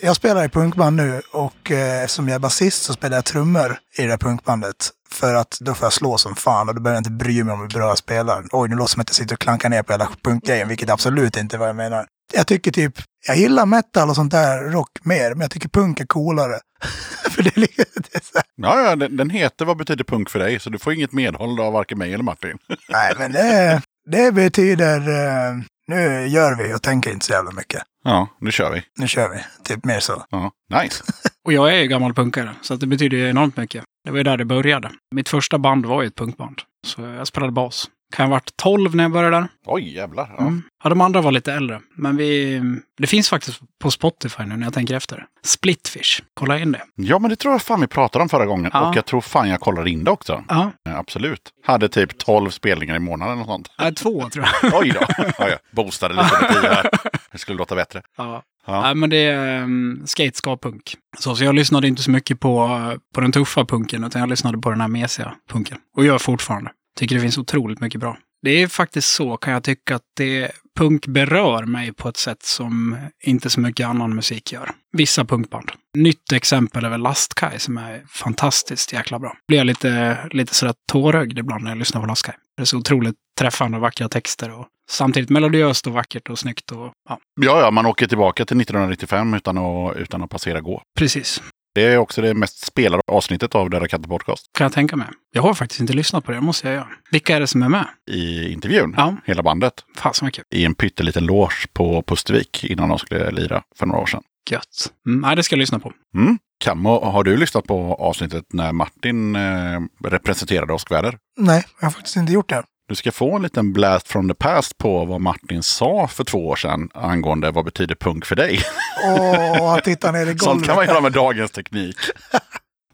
jag spelar i punkband nu och eh, eftersom jag är basist så spelar jag trummor i det här punkbandet. För att då får jag slå som fan och då behöver jag inte bry mig om hur bra jag spelar. Oj, nu låter det som att jag sitter och klankar ner på hela punkgrejen, vilket absolut inte är vad jag menar. jag tycker typ, jag gillar metal och sånt där rock mer, men jag tycker punk är coolare. för det är lite, det är så här, Ja, ja, den, den heter Vad betyder punk för dig? Så du får inget medhåll av varken mig eller Martin. nej men det, det betyder, eh, nu gör vi och tänker inte så jävla mycket. Ja, nu kör vi. Nu kör vi, typ mer så. Ja, nice. Och jag är ju gammal punkare, så att det betyder ju enormt mycket. Det var ju där det började. Mitt första band var ju ett punkband. Så jag spelade bas. Kan ha varit 12 när jag började där. Oj, jävlar. Ja. Mm. Ja, de andra var lite äldre. Men vi... Det finns faktiskt på Spotify nu när jag tänker efter. Splitfish. Kolla in det. ja, men det tror jag fan vi pratade om förra gången. Ja. Och jag tror fan jag kollade in det också. Ja, Ja, absolut. Hade typ 12 spelningar i månaden och sånt. äh, två tror jag. Oj då. Ja, jag boostade lite med tio här. Det skulle låta bättre. Ja. Ja. Nej, men det är um, skate, ska, punk. Så, så jag lyssnade inte så mycket på, eh, på den tuffa punken, utan jag lyssnade på den här mesiga punken. Och gör fortfarande. Tycker det finns otroligt mycket bra. Det är faktiskt så, kan jag tycka, att det, punk berör mig på ett sätt som inte så mycket annan musik gör. Vissa punkband. Nytt exempel är väl Lastkaj som är fantastiskt jäkla bra. Blir jag lite, lite sådär tårögd ibland när jag lyssnar på Lastkaj. Det är så otroligt träffande och vackra texter och samtidigt melodiöst och vackert och snyggt och ja, Ja, ja, man åker tillbaka till 1995 utan att, utan att passera gå. precis. Det är också det mest spelade avsnittet av Döda katter podcast. Kan jag tänka mig. Jag har faktiskt inte lyssnat på det, det måste jag göra. Vilka är det som är med? I intervjun, Ja. hela bandet, Fasen vad kul. i en pytteliten loge på Pustervik innan de skulle lira för några år sedan. Gött. Mm, nej, det ska jag lyssna på. Mm. Kammo, har du lyssnat på avsnittet när Martin eh, representerade åskväder? Nej, jag har faktiskt inte gjort det. Du ska få en liten blast from the past på vad Martin sa för två år sedan angående vad betyder punk för dig. Åh, han tittar ner i golvet. Sånt kan man göra med dagens teknik.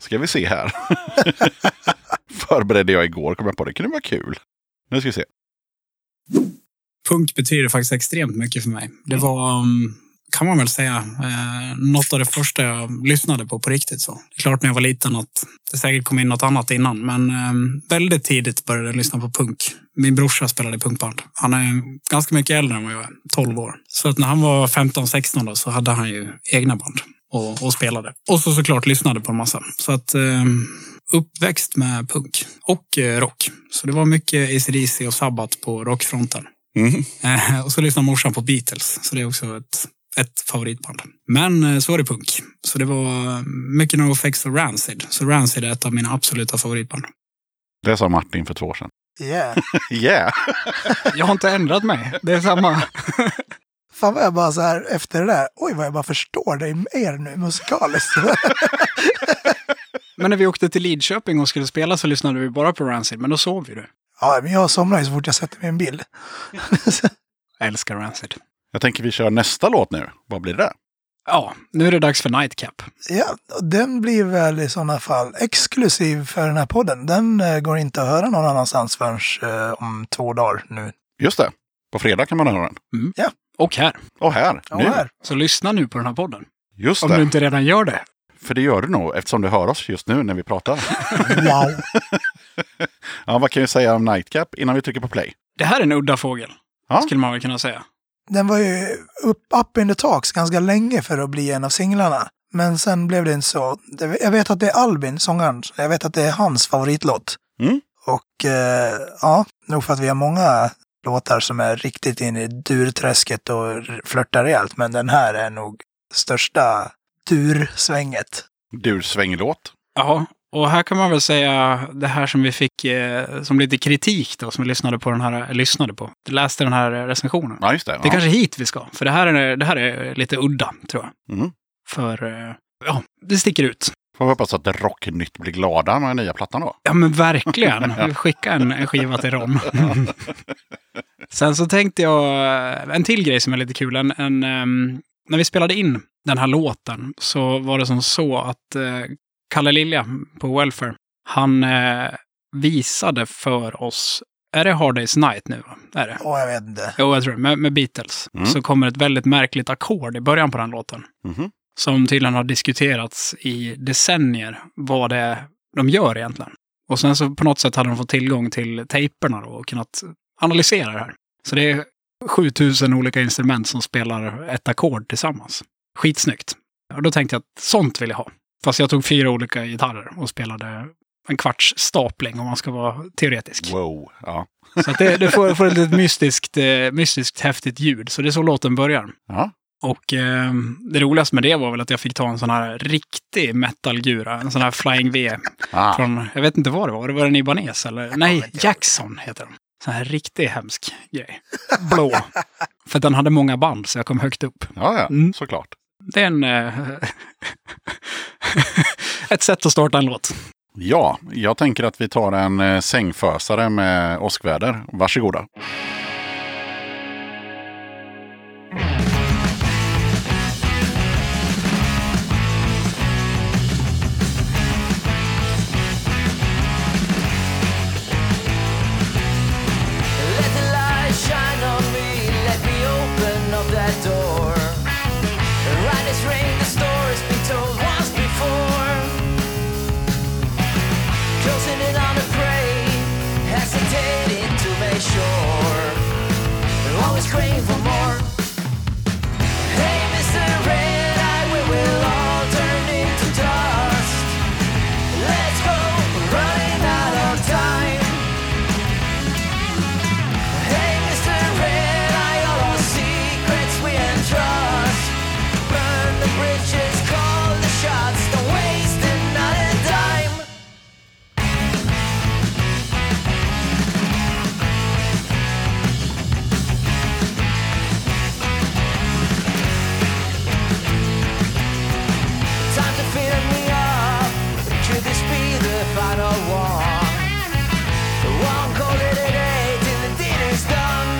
Ska vi se här. Förberedde jag igår, kom jag på det. Kunde vara kul. Nu ska vi se. Punk betyder faktiskt extremt mycket för mig. Det var, um, kan man väl säga, eh, något av det första jag lyssnade på på riktigt. Så. Det är klart när jag var liten att det säkert kom in något annat innan, men ehm, väldigt tidigt började jag lyssna på punk. Min brorsa spelade punkband. Han är ganska mycket äldre än vad jag är, 12 år. Så att när han var 15-16 då, så hade han ju egna band och, och spelade. Och så såklart lyssnade på en massa. Så att ehm, uppväxt med punk och eh, rock. Så det var mycket ACDC och Sabbath på rockfronten. Eh, Och så lyssnar morsan på Beatles, så det är också ett, ett favoritband. Men eh, så var det punk. Så det var eh, mycket NoFX och Rancid. Så Rancid är ett av mina absoluta favoritband. Det sa Martin för två år sedan. Yeah. Yeah! Jag har inte ändrat mig. Det är samma. Fan vad jag bara så här efter det där, oj vad jag bara förstår dig mer nu musikaliskt. Men när vi åkte till Lidköping och skulle spela så lyssnade vi bara på Rancid, men då sov vi du. ja, men jag somnar ju så fort jag sätter mig i en bil. Jag älskar Rancid. Jag tänker vi kör nästa låt nu. Vad blir det? Ja, nu är det dags för Nightcap. ja, och den blir väl i sådana fall exklusiv för den här podden. Den eh, går inte att höra någon annanstans förrän eh, om två dagar nu. Just det. På fredag kan man höra den. Och här. Och här. Ja, nu. här. Så lyssna nu på den här podden. Just Om det. du inte redan gör det. För det gör du nog eftersom du hör oss just nu när vi pratar. Wow. ja, vad kan vi säga om Nightcap innan vi trycker på play? Det här är en udda fågel, Ja. skulle man väl kunna säga. Den var ju upp, up in the talks ganska länge för att bli en av singlarna. Men sen blev det inte så. Det- Jag vet att det är Albin, sångaren, jag vet att det är hans favoritlåt. Mm. Och eh, ja, nog för att vi har många låtar som är riktigt inne i durträsket och r- flörtar rejält, men den här är nog största dursvänget. Du svänglåt. Ja, och här kan man väl säga det här som vi fick eh, som lite kritik då, som vi lyssnade på den här, lyssnade på, läste den här recensionen. Ja, just det. Det är Ja. kanske hit vi ska, för det här är, det här är lite udda, tror jag. Mm. För, eh, ja, det sticker ut. Får vi hoppas att Rocknytt blir glada med den nya plattan då. Ja, men verkligen. Skicka en, en skiva till Ron. Sen så tänkte jag, eh, en till grej som är lite kul. En, en, ehm, när vi spelade in den här låten så var det som så att eh, Kalle Lilja på Welfare, han eh, visade för oss, är det Hard Day's Night nu? Va? Är det? Åh, jag vet inte. Jo, jag tror det. Med, med Beatles Mm. så kommer ett väldigt märkligt ackord i början på den låten. Mhm. Som tydligen har diskuterats i decennier vad det är de gör egentligen. Och sen så på något sätt hade de fått tillgång till tejperna då och kunnat analysera det här. Så det är 7000 olika instrument som spelar ett ackord tillsammans. Skitsnyggt. Och då tänkte jag att sånt vill jag ha. Fast jag tog fyra olika gitarrer och spelade en kvarts stapling om man ska vara teoretisk. Wow. Ja. Så att det, det får, får ett litet mystiskt, eh, mystiskt häftigt ljud. Så det är så låten börjar. Ja. Och eh, det roligaste med det var väl att jag fick ta en sån här riktig metalgura, en sån här Flying V. Ah. Från, jag vet inte vad det var, det var en Ibanez eller? Nej, inte ihåg. Jackson heter den. Sån här riktigt hemsk grej. Blå. För den hade många band så jag kom högt upp. Ja, ja, Mm. såklart. Det är en... Eh, ett sätt att starta en låt. Ja, jag tänker att vi tar en eh, sängfösare med åskväder. Varsågoda. Let the light shine on me, let me open up that door. The right is ring, the story's been told once before. Closing in on a prey, hesitating to make sure. We're always praying for more. Hey, Mr. Red Eye, we will all turn into dust. Let's go, we're running out of time. Hey, Mr. Red Eye, all our secrets we entrust. Burn the bridges, call the shots, don't waste another dime. Time to fill me up. Could this be the final one? The one cold at eight till the dinner's done.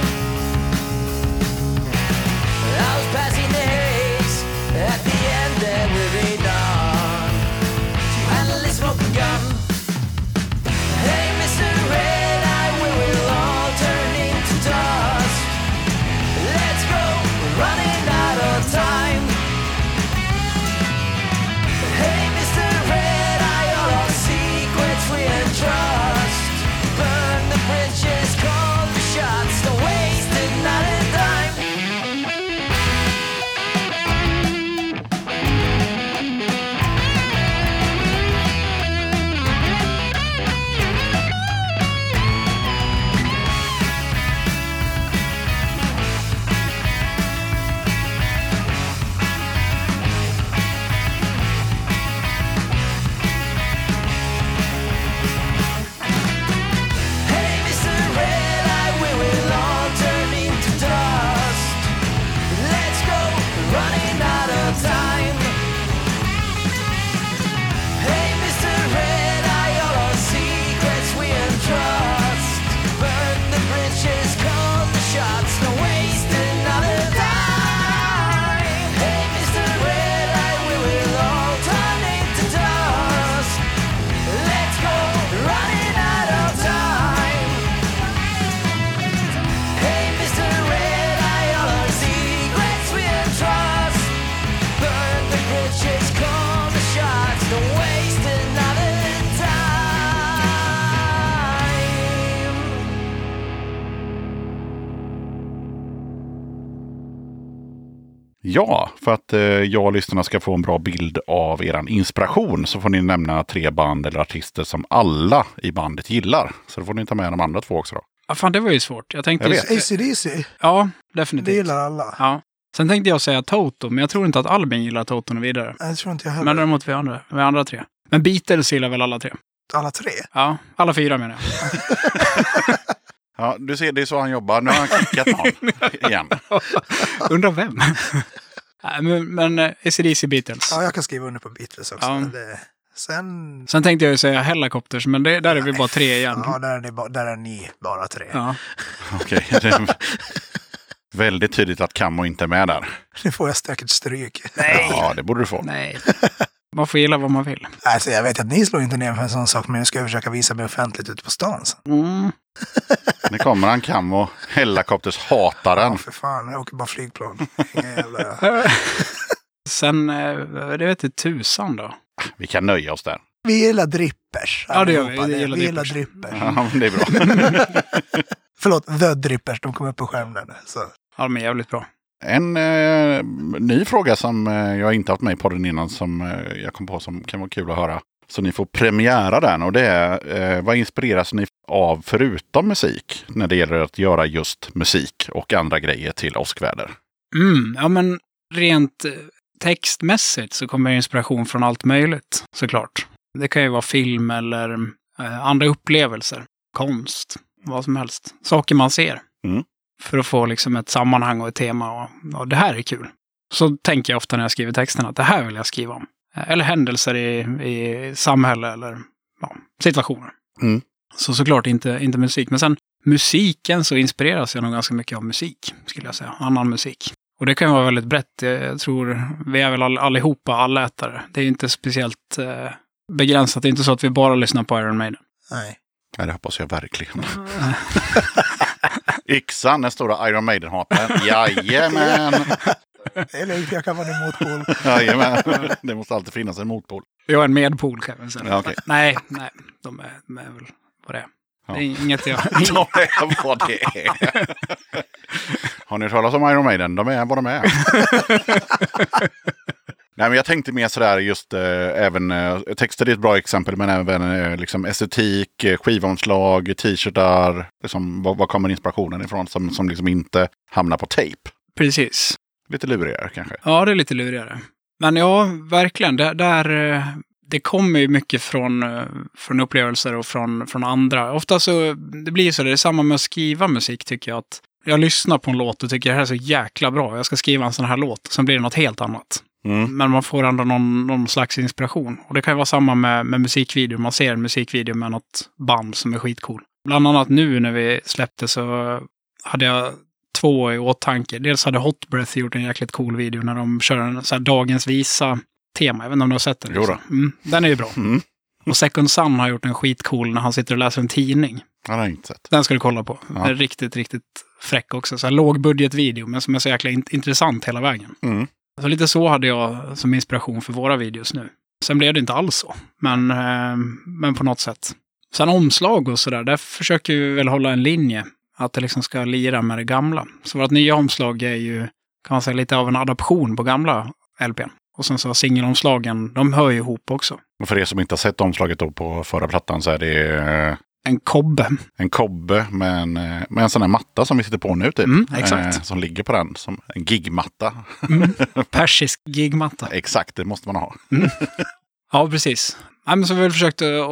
I was passing the haze. At the end there will be none. To handle this smoking gun. Hey, Mr. Red Eye, we will all turn into dust. Let's go, we're running out of time. Hey, Mr. Red Eye, all our secrets we entrust. Burn the bridges, call the shots, don't waste another dime. Hey, Mr. Red Eye, we will all turn into dust. Let's go, we're running out of time. Hey, Mr. Red Eye, all our secrets we entrust. Burn the bridges, call the shots, no waste another dime. Hey, Mr. Red Eye, we will all turn into dust. Let's go, running out of time. Hey, Mr. Red Eye, all our secrets we entrust. Burn the bridges, call the shots, don't waste another time. Ja, för att eh, jag och lyssnarna ska få en bra bild av er inspiration så får ni nämna tre band eller artister som alla i bandet gillar. Så då får ni ta med de andra två också. Då. Ja, fan, det var ju svårt. Jag tänkte... Jag vet. ACDC, Ja, det definitivt. gillar alla. Ja. Sen tänkte jag säga Toto, men jag tror inte att Albin gillar Toto och vidare. Jag tror inte jag Men heller. däremot vi andra, vi andra tre. Men Beatles gillar väl alla tre? Alla tre. Ja, alla fyra menar jag. Ja, du ser, det är så han jobbar. Nu har han kickat någon igen. Undrar vem? Nej, men, men eh, ACDC Beatles. Ja, jag kan skriva under på Beatles också. Ja. men Det, sen... Sen tänkte jag ju säga Hellacopters, men det, där är vi bara tre igen. Ja, där är, ni, ba- där är ni bara tre. Mm. Ja. Okej. det är Väldigt tydligt att Kammo inte är med där. Nu får jag säkert stryk. Ja, det borde du få. Nej. Man får gilla vad man vill. Alltså, jag vet att ni slår inte ner för en sån sak, men nu ska jag försöka visa mig offentligt ute på stan. sen. Mm. Nu kommer han, Kammo. Hellacopters-hataren. För fan, jag åker bara flygplan. Inga jävla... Sen, eh, det vet du tusan då. Vi kan nöja oss där. Vi gillar drippers. Ja, det gör vi. allihopa. Vi gillar gillar drippers. Ja, men det är bra. Förlåt, the drippers. De kom upp på skärmen. Så. Ja, de är jävligt bra. En eh, ny fråga som eh, jag inte haft med i podden innan som eh, jag kom på som kan vara kul att höra. Så ni får premiära den och det är eh, vad inspireras ni av förutom musik när det gäller att göra just musik och andra grejer till åskväder? Mm, ja men rent eh, textmässigt så kommer inspiration från allt möjligt såklart. Det kan ju vara film eller eh, andra upplevelser, konst, vad som helst. Saker man ser. Mm. För att få liksom ett sammanhang och ett tema och, och det här är kul. Så tänker jag ofta när jag skriver texten att det här vill jag skriva om. Eh, Eller händelser i, i samhälle eller ja, situationer. Mm. Så såklart inte, inte musik. Men sen musiken så inspireras jag nog ganska mycket av musik, skulle jag säga. Annan musik. Och det kan ju vara väldigt brett. Jag jag tror vi är väl all, allihopa allätare. Det är ju inte speciellt eh, begränsat. Det är inte så att vi bara lyssnar på Iron Maiden. Nej. Ja, det hoppas jag verkligen. Yxan, den stora Iron Maiden-hataren. Jajamän! Det är lugnt, jag kan vara din motpol. Jajamän! Det måste alltid finnas en motpol. Jag är en medpol kan jag väl säga. Ja, okej. Nej, nej. De är, de är väl vad det är. Ja. Det är inget jag... De är vad det är. Har ni hört talas om Iron Maiden? De är vad de är. Nej, men jag tänkte mer sådär just eh, även eh, texter är ett bra exempel, men även eh, liksom estetik, eh, skivomslag, t-shirtar. Liksom, var, var kommer inspirationen ifrån som, som liksom inte hamnar på tejp? Precis. Lite lurigare kanske. Ja, det är lite lurigare. Men ja, verkligen. Där, där, eh, det kommer ju mycket från, eh, från upplevelser och från, från andra. Ofta så, det blir ju så, det är samma med att skriva musik tycker jag. att Jag lyssnar på en låt och tycker det här är så jäkla bra, jag ska skriva en sån här låt. Sen blir det något helt annat. Mm. Men man får ändå någon, någon slags inspiration. Och det kan ju vara samma med, med musikvideor. Man ser en musikvideo med något band som är skitcool. Bland annat nu när vi släppte så hade jag två i åtanke. Dels hade Hot Breath gjort en jäkligt cool video när de kör en så här dagens visa-tema. Jag vet inte om du har sett den? Jo då. Lisa? Mm, den är ju bra. Mm. Och Second Sun har gjort en skitcool när han sitter och läser en tidning. Ja, det har jag inte sett. Den ska du kolla på. Ja. Den är riktigt, riktigt fräck också. Så här lågbudgetvideo, men som är så jäkla in- intressant hela vägen. Mm. Så Alltså, lite så hade jag som inspiration för våra videos nu. Sen blev det inte alls så, men, eh, men på något sätt. Sen omslag och sådär, där försöker vi väl hålla en linje. Att det liksom ska lira med det gamla. Så vårt nya omslag är ju, kan man säga, lite av en adaption på gamla LPn. Och sen så singelomslagen, de hör ju ihop också. Och för er som inte har sett omslaget då på förra plattan så är det eh, En kobbe. en kobbe med en, eh, med en sån här matta som vi sitter på nu. Typ. Mm, exakt. Eh, som ligger på den, som en gigmatta. Mm. Persisk gigmatta. Exakt, det måste man ha. Ja, precis. Ja, men så vi har försökt att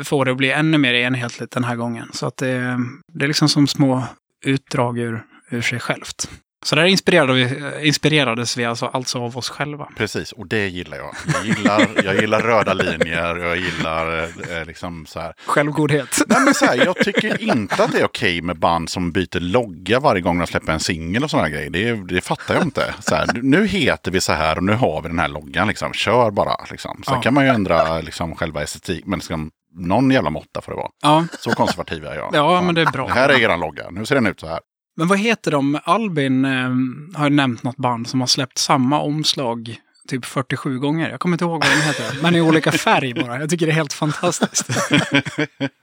att få det att bli ännu mer enhetligt den här gången. Så att det, det är liksom som små utdrag ur, ur sig självt. Så där inspirerade vi, inspirerades vi alltså, alltså av oss själva. Precis, och det gillar jag. Jag gillar, jag gillar röda linjer och jag gillar eh, liksom så här. Självgodhet. Nej, men så här. Jag tycker inte att det är okej med band som byter logga varje gång de släpper en singel och sådana grejer. Det, det fattar jag inte. Så här, nu heter vi så här och nu har vi den här loggan. Liksom. Kör bara. Liksom. Sen Ja. kan man ju ändra liksom, själva estetik, men liksom, någon jävla måtta får det vara. Ja, Så konservativ är jag. ja men det är bra. Det här är eran logga. Nu ser den ut så här. Men vad heter de? Albin eh, har ju nämnt något band som har släppt samma omslag typ 47 gånger. Jag kommer inte ihåg vad de heter, men i olika färg bara. Jag tycker det är helt fantastiskt.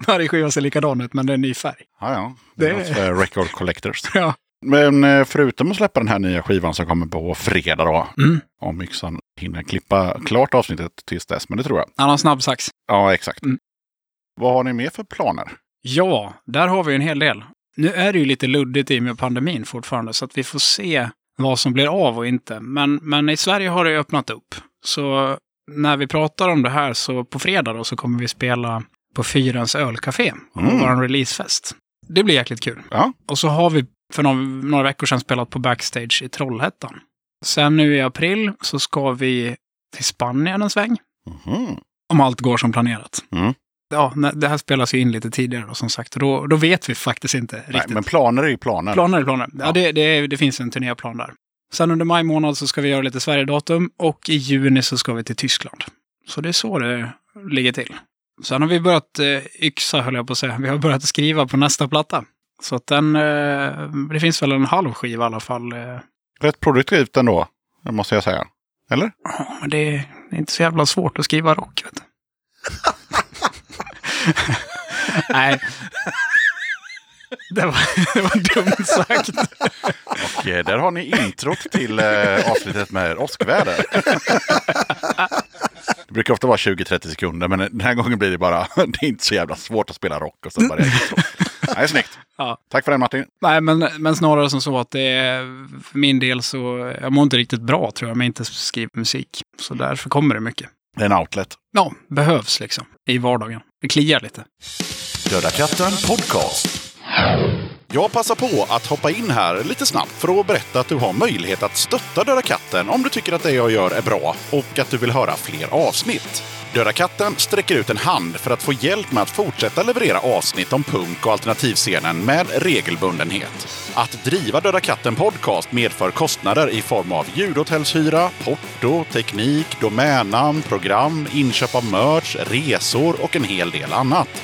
Varje skiva ser likadan ut, men det är en ny färg. Ja, ja. Det är Det- något för record collectors. Ja. Men eh, förutom att släppa den här nya skivan som kommer på fredag då. Mm. Om yxan hinner klippa klart avsnittet tills dess, men det tror jag. Han har en snabb sax. Ja, exakt. Mm. Vad har ni mer för planer? Ja, där har vi en hel del. Nu är det ju lite luddigt i och med pandemin fortfarande, så att vi får se vad som blir av och inte. Men, men i Sverige har det ju öppnat upp. Så när vi pratar om det här, så på fredag då, så kommer vi spela på Fyrens ölcafé och Mm. vår releasefest. Det blir jäkligt kul. Ja. Och så har vi för några, några veckor sedan spelat på Backstage i Trollhättan. Sen nu i april så ska vi till Spanien en sväng, Mhm. om allt går som planerat. Mm. Ja, nej, det här spelas ju in lite tidigare då, som sagt. Och då, då vet vi faktiskt inte Nej, riktigt. men planer är ju planer. Planer är planer. Ja, Ja. det, det, det finns en turnéplan där. Sen under maj månad så ska vi göra lite Sverigedatum och i juni så ska vi till Tyskland. Så det är så det ligger till. Sen har vi börjat eh, yxa, höll jag på att säga. Vi har börjat skriva på nästa platta. Så att den, eh, det finns väl en halv skiva i alla fall. Eh, Rätt produktivt ändå, det måste jag säga. Eller? ja, men det är, det är inte så jävla svårt att skriva rock, vet du. Nej. Det var, det var dumt sagt. Och eh, där har ni introt till eh, avsnittet med åskväder. Det brukar ofta vara 20-30 sekunder, men den här gången blir det bara... Det är inte så jävla svårt att spela rock och sen bara reagera så. Nej, snyggt. Ja. Tack för den Martin. Nej, men, men snarare som så att det är, för min del så, jag mår inte riktigt bra tror jag, men inte skriver musik. Så därför kommer det mycket. Det är en outlet. Ja, behövs liksom i vardagen. Det kliar lite. Döda katten podcast. Jag passar på att hoppa in här lite snabbt för att berätta att du har möjlighet att stötta Döda katten om du tycker att det jag gör är bra och att du vill höra fler avsnitt. Döda katten sträcker ut en hand för att få hjälp med att fortsätta leverera avsnitt om punk och alternativscenen med regelbundenhet. Att driva Döda katten podcast medför kostnader i form av ljudhotellshyra, porto, teknik, domännamn, program, inköp av merch, resor och en hel del annat.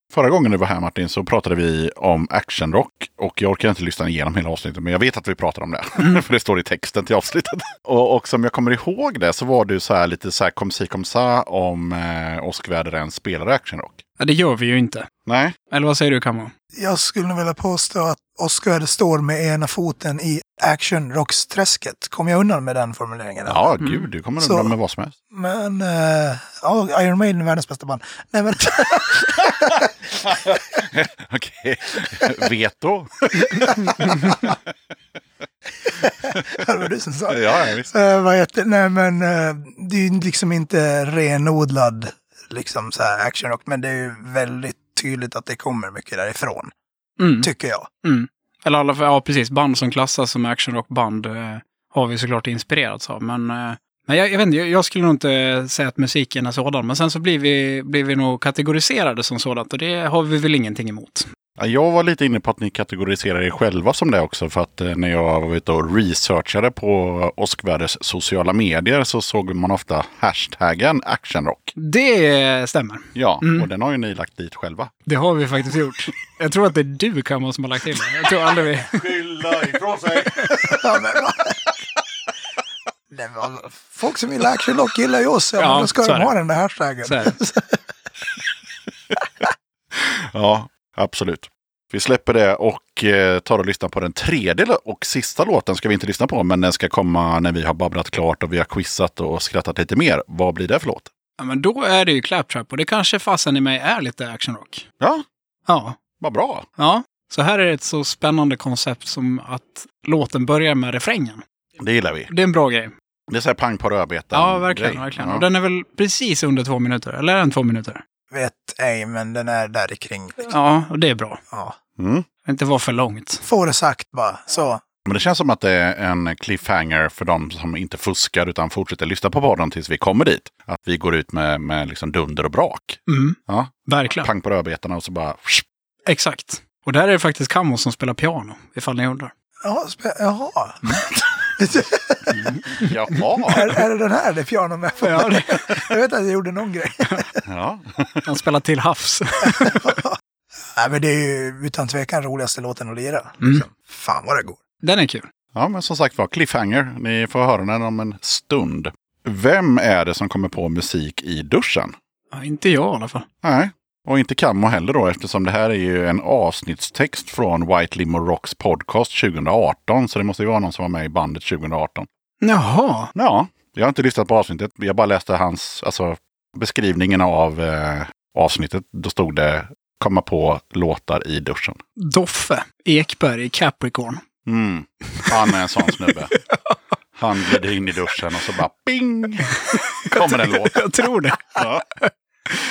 Förra gången du var här Martin så pratade vi om actionrock och jag orkar inte lyssna igenom hela avsnittet men jag vet att vi pratar om det. För det står i texten till avsnittet. Och, och som jag kommer ihåg det så var du så här lite så här kom si kom sa om eh, Oskar Väderén spelar actionrock. Ja, det gör vi ju inte. Nej, Eller vad säger du, Kammo? Jag skulle nog vilja påstå att Oscar står med ena foten i actionrocksträsket. Kom jag undan med den formuleringen? eller? ja gud du kommer Så- undan med vad som helst. Men, eh, ja, Iron Maiden är världens bästa band. Nej men, Okej, veto. det var du som sa det. ja, ja, visst. Eh, vad heter, nej men, eh, det är ju liksom inte renodlad liksom så här actionrock, men det är ju väldigt tydligt att det kommer mycket därifrån, Mm. tycker jag. Mm. Eller alla, ja precis, band som klassas som actionrockband eh, har vi såklart inspirerats av. Men, eh, men jag, jag vet inte, jag, jag skulle nog inte säga att musiken är sådan. Men sen så blir vi, blir vi nog kategoriserade som sådant och det har vi väl ingenting emot. Ja, Jag var lite inne på att ni kategoriserar er själva som det också. För att eh, när jag var ute och researchade på Oskvärders sociala medier så såg man ofta hashtaggen actionrock. Det stämmer. Ja, Mm. och den har ju ni lagt dit själva. Det har vi faktiskt gjort. Jag tror att det är du, Kammo, som har lagt till det. Jag tror aldrig vi... Skylla ifrån sig! Ja, men, va? Nej, men, vad- folk som gillar actionrock gillar ju oss, ja, Ja, men då ska så är de det. ha den där hashtaggen. Så här. Ja, absolut. Vi släpper det och eh, tar och lyssnar på den tredje lå- och sista låten ska vi inte lyssna på. Men den ska komma när vi har babblat klart och vi har quizat och skrattat lite mer. Vad blir det för låt? Ja, men då är det ju Claptrap och det kanske fasen i mig är lite actionrock. Ja, Ja, vad bra. ja. Så här är ett så spännande koncept som att låten börjar med refrängen. Det gillar vi. Det är en bra grej. Det är så här pang på rödbetan. Ja, verkligen. grej. verkligen. Ja. Och den är väl precis under två minuter, eller är den två minuter? Vet ej, men den är där i kring. Liksom. Ja, och det är bra. Ja. Mm. Inte vara för långt. Får det sagt bara, så. Men det känns som att det är en cliffhanger för de som inte fuskar utan fortsätter lyssna på podden tills vi kommer dit. Att vi går ut med, med liksom dunder och brak. Mm, Ja, verkligen. pang på rödbetan och så bara... Exakt. Och där är det faktiskt Kammo som spelar piano, ifall ni undrar. Ja, spe- jaha. är, Jaha! är det den här det är piano med? Ja, det, Jag vet att jag gjorde någon grej. Ja. han spelar till havs. Nej, men det är ju utan tvekan roligaste låten att lira. Mm. Liksom. Fan vad det går. Den är kul. ja, men som sagt var, cliffhanger. Ni får höra den om en stund. Vem är det som kommer på musik i duschen? Ja, inte jag i alla fall. Nej, och inte Kammo heller då eftersom det här är ju en avsnittstext från White Limo Rocks podcast 2018. Så det måste ju vara någon som var med i bandet 2018. Jaha. Ja, jag har inte lyssnat på avsnittet. Jag bara läste hans, alltså beskrivningen av eh, avsnittet. Då stod det komma på låtar i duschen. Doffe Ekberg i Capricorn. Mm. Han är en sån snubbe. Han glider in i duschen och så bara bing! Kommer en låt. Jag tror det. Ja.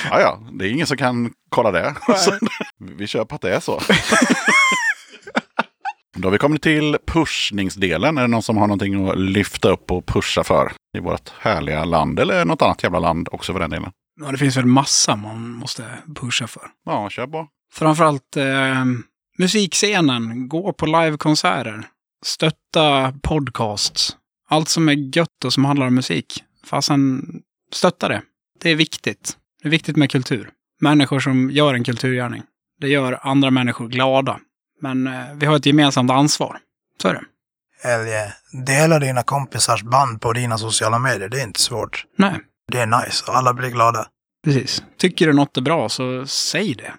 ja, ja, det är ingen som kan kolla det. Så, vi kör på att det är så. Då har vi kommit till pushningsdelen. Är det någon som har någonting att lyfta upp och pusha för i vårt härliga land eller något annat jävla land också för den delen? Ja, det finns väl massa man måste pusha för. Ja, kör på. Framförallt eh, musikscenen. Gå på livekonserter. Stötta podcasts. Allt som är gött och som handlar om musik. Fasen, stötta det. Det är viktigt. Det är viktigt med kultur. Människor som gör en kulturgärning. Det gör andra människor glada. Men eh, vi har ett gemensamt ansvar. Så är det. Hell yeah. Dela dina kompisars band på dina sociala medier. Det är inte svårt. Nej, Det är nice och alla blir glada. precis. Tycker du något är bra så säg det.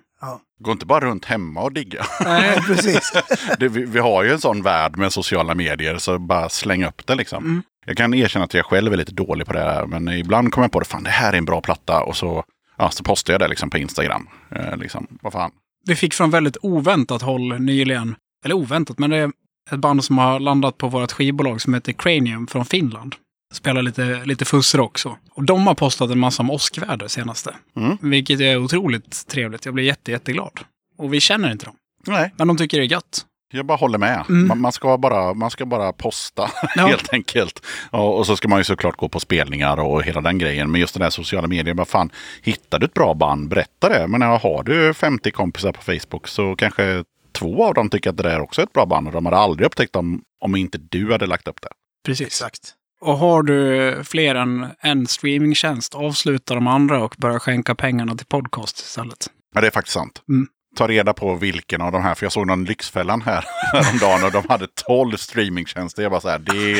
Gå inte bara runt hemma och digga. Nej, Precis. Det, vi, vi har ju en sån värld med sociala medier, så bara släng upp det liksom. Mm. Jag kan erkänna att jag själv är lite dålig på det här, men ibland kommer jag på det, fan det här är en bra platta, och så, ja, så postar jag det liksom på Instagram. Eh, liksom, vad fan. vi fick från väldigt oväntat håll nyligen. Eller oväntat, men det är ett band som har landat på vårt skivbolag som heter Cranium från Finland. Spelar lite, lite fussrock så. Och de har postat en massa om åskväder senaste. Mm. Vilket är otroligt trevligt. Jag blir jätte, jätteglad. Och vi känner inte dem. Nej, Men de tycker det är gött. jag bara håller med. Mm. Man, man, ska bara, man ska bara posta, Ja. helt enkelt. Och, och så ska man ju såklart gå på spelningar och hela den grejen. Men just den här sociala medier, vad fan, hittar du ett bra band, berätta det. Men ja, har du 50 kompisar på Facebook så kanske två av dem tycker att det där också är ett bra band. Och de hade aldrig upptäckt dem om inte du hade lagt upp det. Precis. Exakt. Och har du fler än en streamingtjänst, avsluta de andra och börja skänka pengarna till podcast istället. Ja, det är faktiskt sant. Mm. Ta reda på vilken av de här, för jag såg någon Lyxfällan här häromdagen och de hade 12 streamingtjänster. Jag bara så här, det,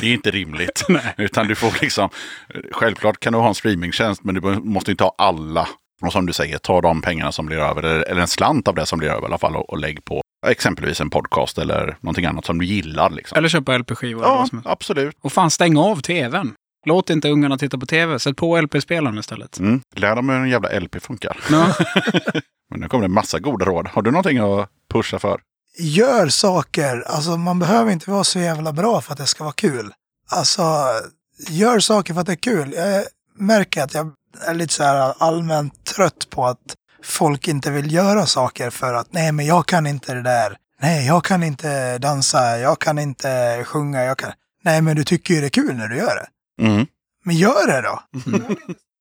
det är inte rimligt. Nej. Utan du får liksom, självklart kan du ha en streamingtjänst men du be- måste inte ha alla. Och som du säger, ta de pengarna som blir över, eller eller en slant av det som blir över i alla fall och, och lägg på exempelvis en podcast eller någonting annat som du gillar. Liksom. Eller köpa LP-skivor. eller ja, vad som helst. absolut. Och fan, stäng av tvn. Låt inte ungarna titta på tv. Sätt på LP-spelaren istället. Mm. Lär dem hur en jävla LP funkar. Ja. Men nu kommer det en massa goda råd. Har du någonting att pusha för? Gör saker. Alltså man behöver inte vara så jävla bra för att det ska vara kul. Alltså, gör saker för att det är kul. Jag märker att jag är lite så här allmänt trött på att folk inte vill göra saker för att nej men jag kan inte det där. Nej, jag kan inte dansa, jag kan inte sjunga, jag kan... Nej, men du tycker ju det är kul när du gör det. Mm. Men gör det då!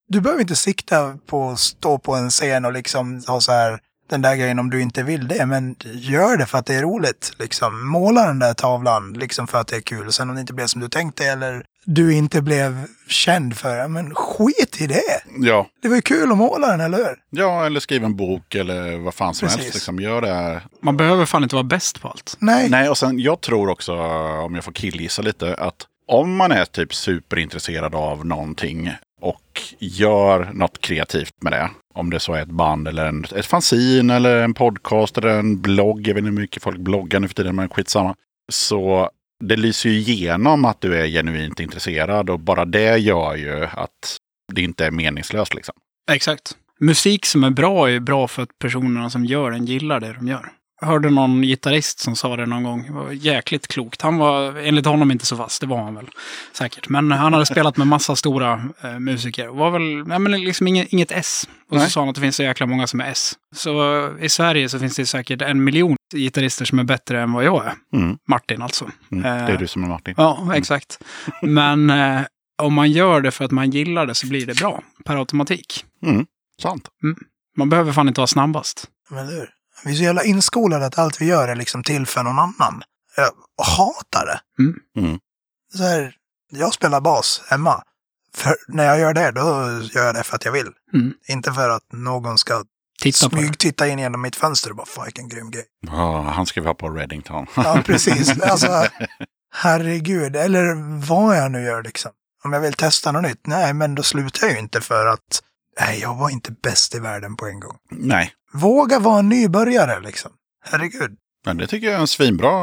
Du behöver inte sikta på att stå på en scen och liksom ha så här den där grejen om du inte vill det, men gör det för att det är roligt. Liksom, måla den där tavlan liksom för att det är kul. Sen om det inte blev som du tänkte eller du inte blev känd för det, men skit i det! Ja, Det var ju kul att måla den, eller hur? Ja, eller skriv en bok eller vad fan som Precis. helst. Liksom, gör det här. Man behöver fan inte vara bäst på allt. Nej, Nej, och sen jag tror också, om jag får killgissa lite, att om man är typ superintresserad av någonting och gör något kreativt med det, om det så är ett band eller en, ett fanzine eller en podcast eller en blogg, jag vet inte hur mycket folk bloggar nu för tiden, men skitsamma. Så det lyser ju igenom att du är genuint intresserad och bara det gör ju att det inte är meningslöst liksom. Exakt. Musik som är bra är ju bra för att personerna som gör den gillar det de gör. Jag hörde någon gitarrist som sa det någon gång. Det var jäkligt klokt. Han var, enligt honom, inte så vass. Det var han väl säkert. Men han hade spelat med massa stora eh, musiker. Var väl, nej, men liksom inget, inget S. Och Nej. så sa han att det finns så jäkla många som är S. Så eh, i Sverige så finns det säkert en miljon gitarrister som är bättre än vad jag är. Mm. Martin alltså. Mm. Det är du som är Martin. Ja, exakt. Men eh, om man gör det för att man gillar det så blir det bra per automatik. Sant. Man behöver fan inte vara snabbast. men eller hur? Vi är så jävla inskolade att allt vi gör är liksom till för någon annan. Jag hatar det. Mm. Mm. Så här, jag spelar bas hemma. För när jag gör det, då gör jag det för att jag vill. Mm. Inte för att någon ska Titta på det. smyg titta in genom mitt fönster och bara fan vilken grym grej. Ja, han ska vi ha på Reddington. Ja, precis. Alltså, herregud. Eller vad jag nu gör liksom. Om jag vill testa något nytt, nej men då slutar jag ju inte för att nej, jag var inte bäst i världen på en gång. Nej, Våga vara en nybörjare liksom. Herregud. men det tycker jag är en svinbra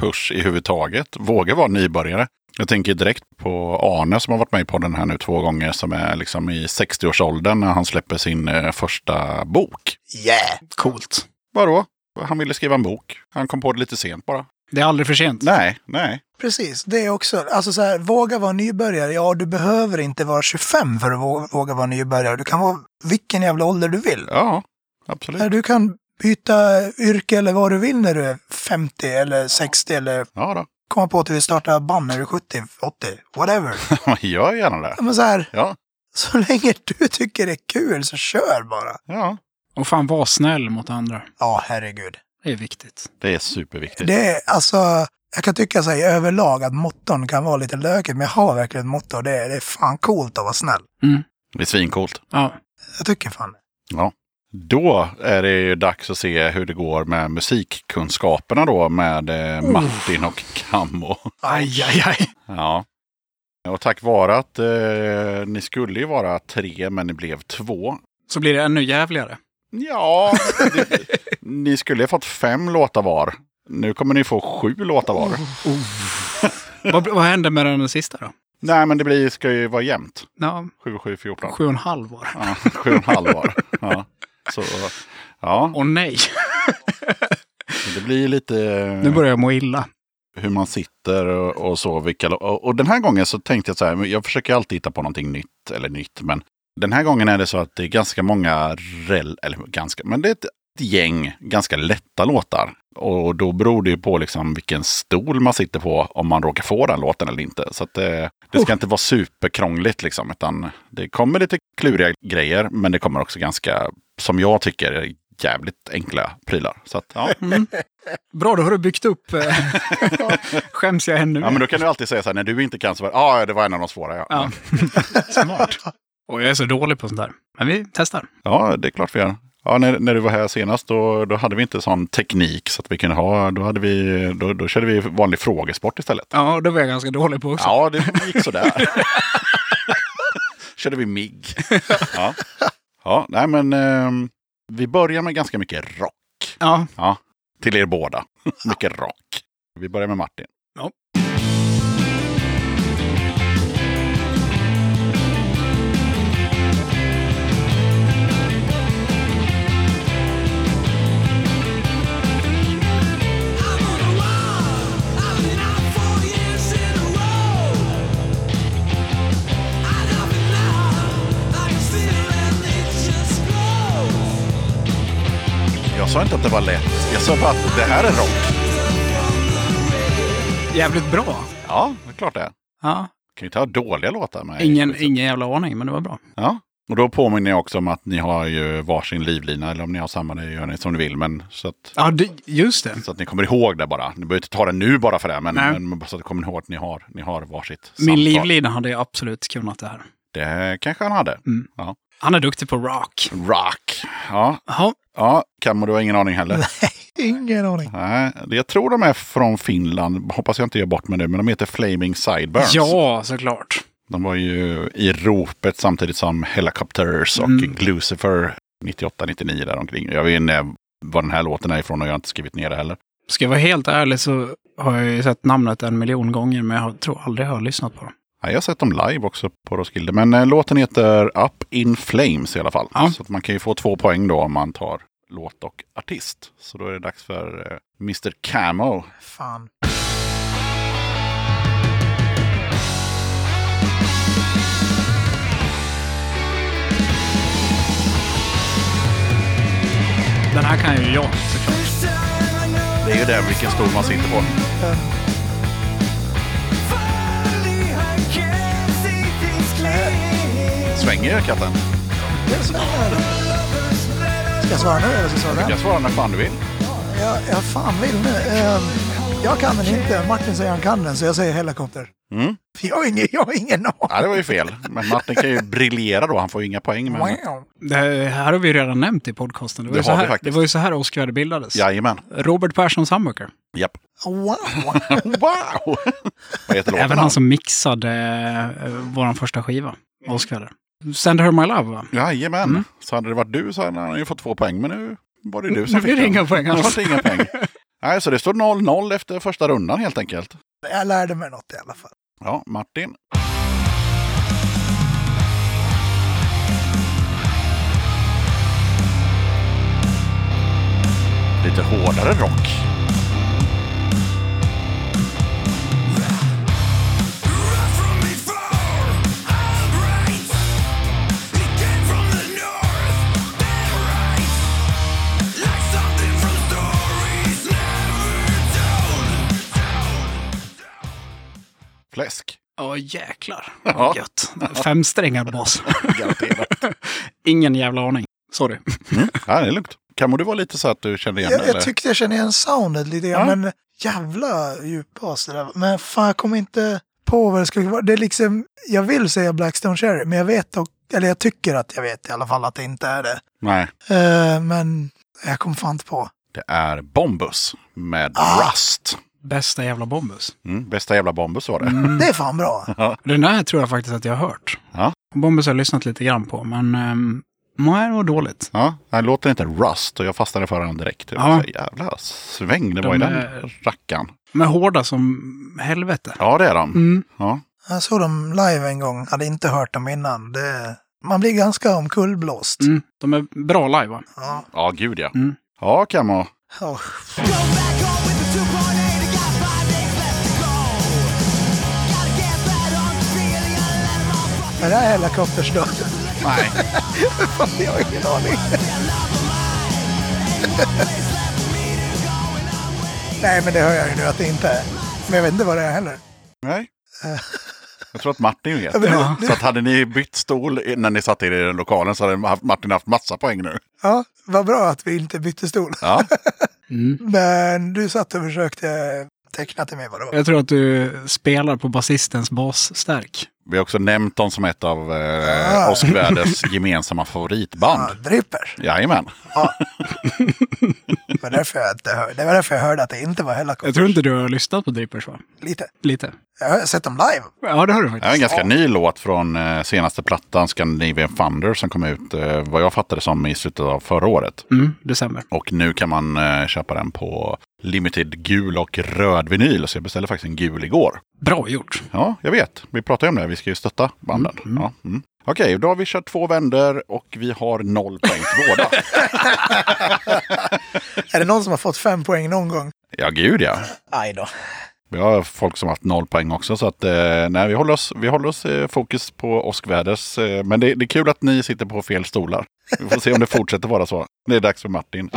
push i huvud taget. Våga vara nybörjare. Jag tänker direkt på Arne som har varit med i podden här nu två gånger som är liksom i 60-årsåldern när han släpper sin eh, första bok. Yeah! Coolt. Vadå? Han ville skriva en bok. Han kom på det lite sent bara. Det är aldrig för sent. Nej, nej. Precis, det är också, alltså så här, våga vara nybörjare. Ja, du behöver inte vara 25 för att vå- våga vara nybörjare. Du kan vara vilken jävla ålder du vill. Ja, absolut. Du kan byta yrke eller vad du vill när du är 50 eller 60 eller Ja då. komma på att du vill starta band när du är 70, 80, whatever. Gör gärna det. Ja, Men så här, Ja, så länge du tycker det är kul så kör bara. ja. Och fan, var snäll mot andra. Ja, herregud. Det är viktigt. Det är superviktigt. Det är alltså, jag kan tycka så här, i överlag att motton kan vara lite lökigt, men jag har verkligen ett motto och det är, det är fan coolt att vara snäll. Det är svincoolt. Ja, Jag tycker fan det. Ja. Då är det ju dags att se hur det går med musikkunskaperna då med eh, Martin och Cammo. Aj, aj, aj. Ja. Och tack vare att eh, ni skulle ju vara tre men ni blev två. Så blir det ännu jävligare. Ja, det, ni skulle ha fått fem låtar var. Nu kommer ni få sju låtar var. vad, vad hände med den sista då? Nej, men det blir, ska ju vara jämnt. Ja, Sju, sju, fjorton. sju och en halv var det. Ja, sju och en halv var. Ja. Så, ja, Åh nej, det blir lite... nu börjar jag må illa. hur man sitter och, och så. Vilka, lo- och, och den här gången så tänkte jag så här, men jag försöker alltid hitta på någonting nytt, eller nytt, men den här gången är det så att det är ganska många, rel, eller ganska, men det är ett, ett gäng ganska lätta låtar. Och då beror det ju på liksom vilken stol man sitter på om man råkar få den låten eller inte. Så att det, det ska inte vara superkrångligt liksom, utan det kommer lite kluriga grejer, men det kommer också ganska, som jag tycker, jävligt enkla prylar. Så att, ja. Bra, då har du byggt upp. eh, Skäms jag ännu Ja, men mer. då kan du alltid säga så här, när du inte kan så bara, ja, det var en av de svåra. Ja, ja. Ja. Smart. Och jag är så dålig på sånt där. Men vi testar. det är klart vi gör. Ja, när, när du var här senast, då, då hade vi inte sån teknik så att vi kunde ha, då, hade vi, då, då körde vi vanlig frågesport istället. Ja, det var jag ganska dålig på också. Ja, det gick sådär. körde vi MIG. Ja, ja nej men ehm, vi börjar med ganska mycket rock. Ja, Ja, till er båda. mycket rock. Vi börjar med Martin. I'm on a roll. I've been out four years in a row. I love it now. I can feel and it just grows. Jag sa inte att det var lätt. Jag sa bara att det här är rock. jävligt bra. Ja, det är klart det är. Ja, Kan ju ta dåliga låtar med. ingen, ingen jävla aning, men det var bra. Ja, och då påminner jag också om att ni har ju varsin livlina, eller om ni har samma, det gör ni som ni vill. Men så att, Ja, det, just det. så att ni kommer ihåg det bara. Ni behöver inte ta det nu bara för det, men, Nej. men bara så att ni kommer ihåg att ni har, ni har varsitt Min samtal. livlina hade jag absolut kunnat det här. Det kanske han hade. Mm. Ja. Han är duktig på rock. Rock. Ja, Jaha, ja Kammo, du har ingen aning heller. Ingen aning. Nej, det- jag tror de är från Finland. Hoppas jag inte gör bort med det, men de heter Flaming Sideburns. ja, såklart. De var ju i ropet samtidigt som Helicopters och Mm. Glucifer 98-99 där omkring. Jag vet inte var den här låten är ifrån och jag har inte skrivit ner det heller. Ska jag vara helt ärlig så har jag ju sett namnet en miljon gånger, men jag tror aldrig jag har lyssnat på dem. Ja, jag har sett dem live också på Roskilde. Men eh, låten heter Up in Flames i alla fall. Ja. Så att man kan ju få två poäng då om man tar låt och artist. Så då är det dags för eh, Mr Camo. Fan. Den här kan ju jag såklart. First time I know Det är ju det vilken stol man sitter på. finally I can see things Eh, clear. Svänger jag katten? Ska jag svara nu eller ska jag svara Du sen? kan svara när fan du vill. Jag, jag fan vill nu. Ehm, jag kan den inte. Martin säger han kan den, så jag säger helikopter. Mm. För Jag har ingen, jag har ingen aning. Ja, det var ju fel. Men Martin kan ju briljera då. Han får ju inga poäng. Men... Wow. Det här har vi ju redan nämnt i podcasten. Det var, Det ju, så har vi här, faktiskt. det var ju så här Oscar bildades. Jajamän. Robert Persson Summerker. Japp. Wow. Wow! Vad heter låten? Även han som mixade eh, vår första skiva, Oscar. Send her my love, va? Jajamän. Mm. Så hade det varit du så hade han ju fått två poäng. Men nu var det ju du som Nu blir det den. inga poäng Nu alls. vart det inga poäng. Nej, så det står 0-0 efter första rundan helt enkelt. Jag lärde mig något i alla fall. Ja, Martin. Lite hårdare rock. Like some Fläsk. Ja, jäklar. Ja. Ja. Gött. Femsträngad bas. Garanterat. Ingen jävla aning. Sorry. Mm. Ja, det är lugnt. Kan du vara lite så att du känner igen det, Jag, jag eller? tyckte jag kände igen soundet lite grann, Ja. men jävla djupbas det där var. Men fan, jag kommer inte på vad det skulle vara. Det är liksom, jag vill säga Blackstone Cherry, men jag vet och, eller jag tycker att jag vet i alla fall att det inte är det. Nej, Eh, men jag kom fan inte på. det är Bombus med Ah. Rust. Bästa jävla Bombus. Mm. Bästa jävla Bombus var det. Mm. Det är fan bra. Den här tror jag faktiskt att jag har hört. Ja. Bombus har jag lyssnat lite grann på, men um, nej, det var dåligt. Ja, den låter inte Rust och jag fastnade för den direkt. Jag Ja. tänkte, Jävla sväng det De var i den är- rackaren. Men hårda som helvete. Ja, det är de. Mm. Ja. Jag såg dem live en gång, hade inte hört dem innan. Det, man blir ganska omkullblåst. Mm. De är bra live, va? Ja. ja, gud ja. Mm. Ja, Camo. Oh. Är det här Helicopters då? Nej. Fan, jag har ingen aning. Nej, men det hör jag ju nu att det inte är. Men jag vet inte vad det är heller. Nej. Jag tror att Martin vet. Ja, men Ja. nu- Så att hade ni bytt stol när ni satt er i den lokalen så hade haft- Martin haft massa poäng nu. Ja, vad bra att vi inte bytte stol. Ja, Mm. Men du satt och försökte teckna till mig vad det var. Jag tror att du spelar på basistens basstärk. vi har också nämnt dem som ett av eh, Ah. Oskar Väders gemensamma favoritband. Ja, Ah. dripper. Jajamän. Det var därför jag, inte hör, det var därför jag hörde att det inte var Helicopters. Jag tror inte du har lyssnat på Drippers, va? Lite. Lite. Jag har sett dem live. Ja, det har du Det är en faktiskt. ganska ny låt från eh, senaste plattan Scandinavian Thunder som kom ut eh, vad jag fattade som i slutet av förra året. Mm, december. Och nu kan man eh, köpa den på limited gul och röd vinyl. Så jag beställde faktiskt en gul igår. Bra gjort. Ja, jag vet. Vi pratade ju om det. Vi ska ju stötta banden. Ja, mm. Okej, då har vi kört två vänder och vi har noll poäng till båda. Är det någon som har fått fem poäng någon gång? Ja, gud ja. Aj då. Vi har folk som har haft noll poäng också. Så att, eh, nej, vi håller oss, vi håller oss eh, fokus på åskväders. Eh, men det, det är kul att ni sitter på fel stolar. Vi får se om det fortsätter vara så. Det är dags för Martin.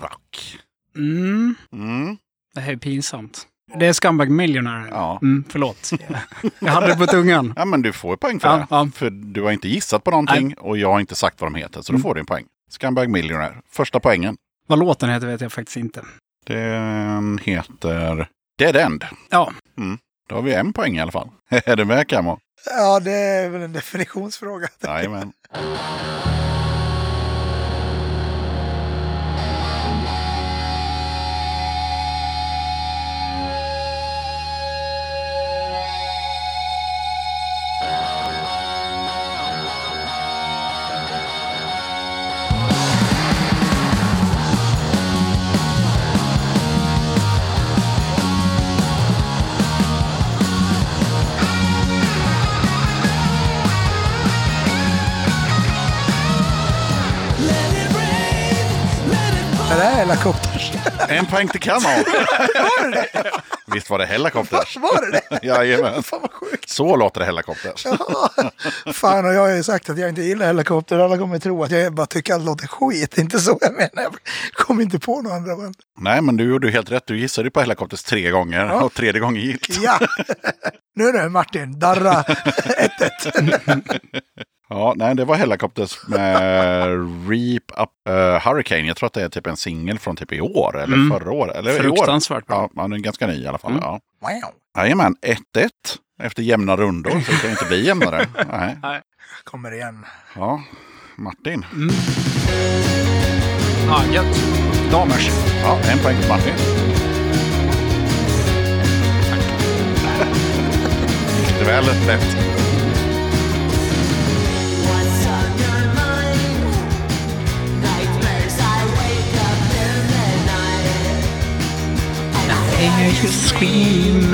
Rock. Mm. Mm. Det här är pinsamt. Det är Scumbag Millionaire. Ja. Mm, förlåt. Jag hade det på tungan. Ja, men du får poäng för Ja, det. ja. För du har inte gissat på någonting och jag har inte sagt vad de heter. Så då Mm. får du en poäng. Scumbag Millionaire. Första poängen. Vad låten heter vet jag faktiskt inte. Den heter Dead End. Ja, Då har vi en poäng i alla fall. är du med Camo? Ja, det är väl en definitionsfråga. Jajamän. Är det här Helicopters? En poäng till Camo. Var det det? Visst var det Hellacopters? Var det det? Jajamän. Fan vad sjukt. Så låter det Hellacopters. Ja. Fan, och jag har ju sagt att jag inte gillar helikopter. Alla kommer tro att jag bara tycker att det låter skit. Det är inte så jag menar. Jag kom inte på några andra band. Nej, men du gjorde ju helt rätt. Du gissade ju på Hellacopters tre gånger och tredje gången gick. Ja! Nu är det Martin, darra 1-1. Ja, nej, det var Hellacopters med Reap Up eh, Hurricane. Jag tror att det är typ en singel från typ i år eller Mm. förra året. Eller i år. fruktansvärt bra. Ja, man är ganska ny i alla fall. Mm. Ja. Wow. Jajamän, 1-1 efter jämna rundor. Så det kan ju inte bli jämnare. Nej. Kommer igen. Ja, Martin. Mm. Ja, gött. Damers. Ja, en poäng till Martin. Det är väl lätt. Fingers you scream.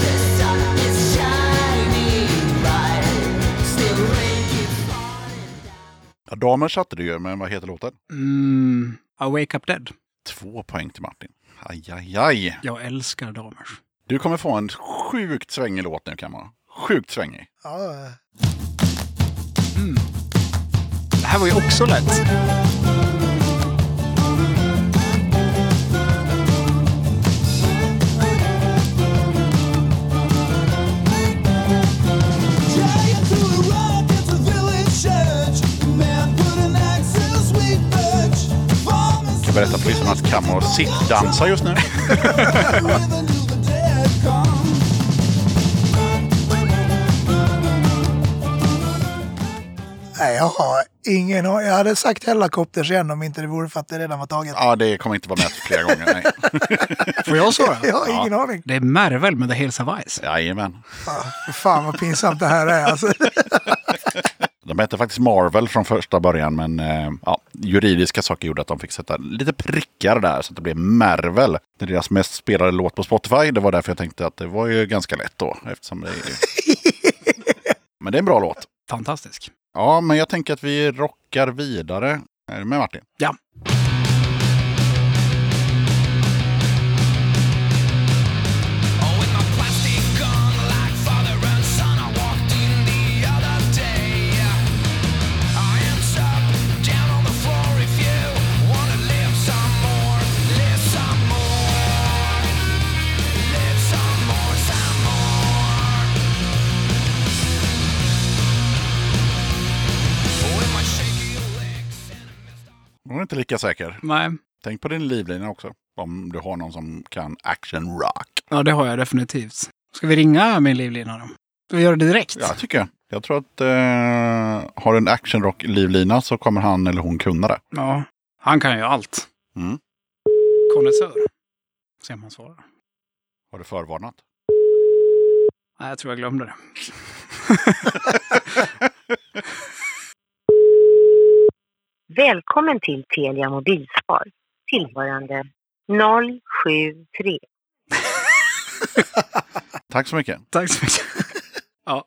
The sun is shining bright, still rain falling Ja, damer satte du ju, men vad heter låten? Mm, I wake up dead. Två poäng till Martin. Aj, aj, aj. Jag älskar damer. Du kommer få en sjukt svängig låt nu, Kammar. Sjukt svängig. Ja, Det här var ju också lätt. Jag berättar för lyssnarna att Kammar sittdansar just nu. Nej, jag har ingen aning. Jag hade sagt Hellacopters igen om inte det vore för att det redan var taget. Ja, det kommer inte vara med flera gånger. Nej. Får jag svara? Jag har ingen aning. Det är Mervel med The Hills of Ice. Jajamän. Fy Fan vad pinsamt det här är alltså. De hette faktiskt Marvel från första början, men eh, ja, juridiska saker gjorde att de fick sätta lite prickar där så att det blev Marvel. Det är deras mest spelade låt på Spotify. Det var därför jag tänkte att det var ju ganska lätt då, eftersom det är... Men det är en bra låt. Fantastisk. Ja, men jag tänker att vi rockar vidare. Är du med Martin? Ja. Hon är inte lika säker. Nej, Tänk på din livlina också. Om du har någon som kan action rock. ja, det har jag definitivt. Ska vi ringa min livlina då? Ska vi göra det direkt? Ja, tycker jag. Jag tror att eh, har du en action rock livlina så kommer han eller hon kunna det. Ja, han kan ju allt. Mm. Kondensör. Se om han svarar. Har du förvarnat? Nej, jag tror jag glömde det. Välkommen till Telia Mobilspar tillhörande 073. Tack så mycket. Tack så mycket. Ja.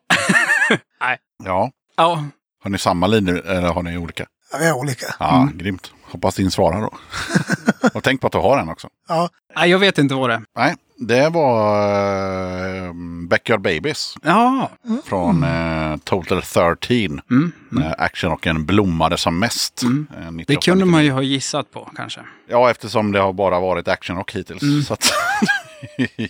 Ja, ja. har ni samma linje eller har ni olika? Ja, vi är olika. Ja, grymt. Hoppas din svarar då. Och tänk på att du har en också. Ja, Nej, jag vet inte vad det är. Nej, det var eh, Backyard Babies Ja. från eh, Total 13. Mm. När actionrocken blommade som mest. Mm. eh, Det 98, kunde man ju ha gissat på kanske. Ja, eftersom det har bara varit actionrock hittills. Mm. Så att...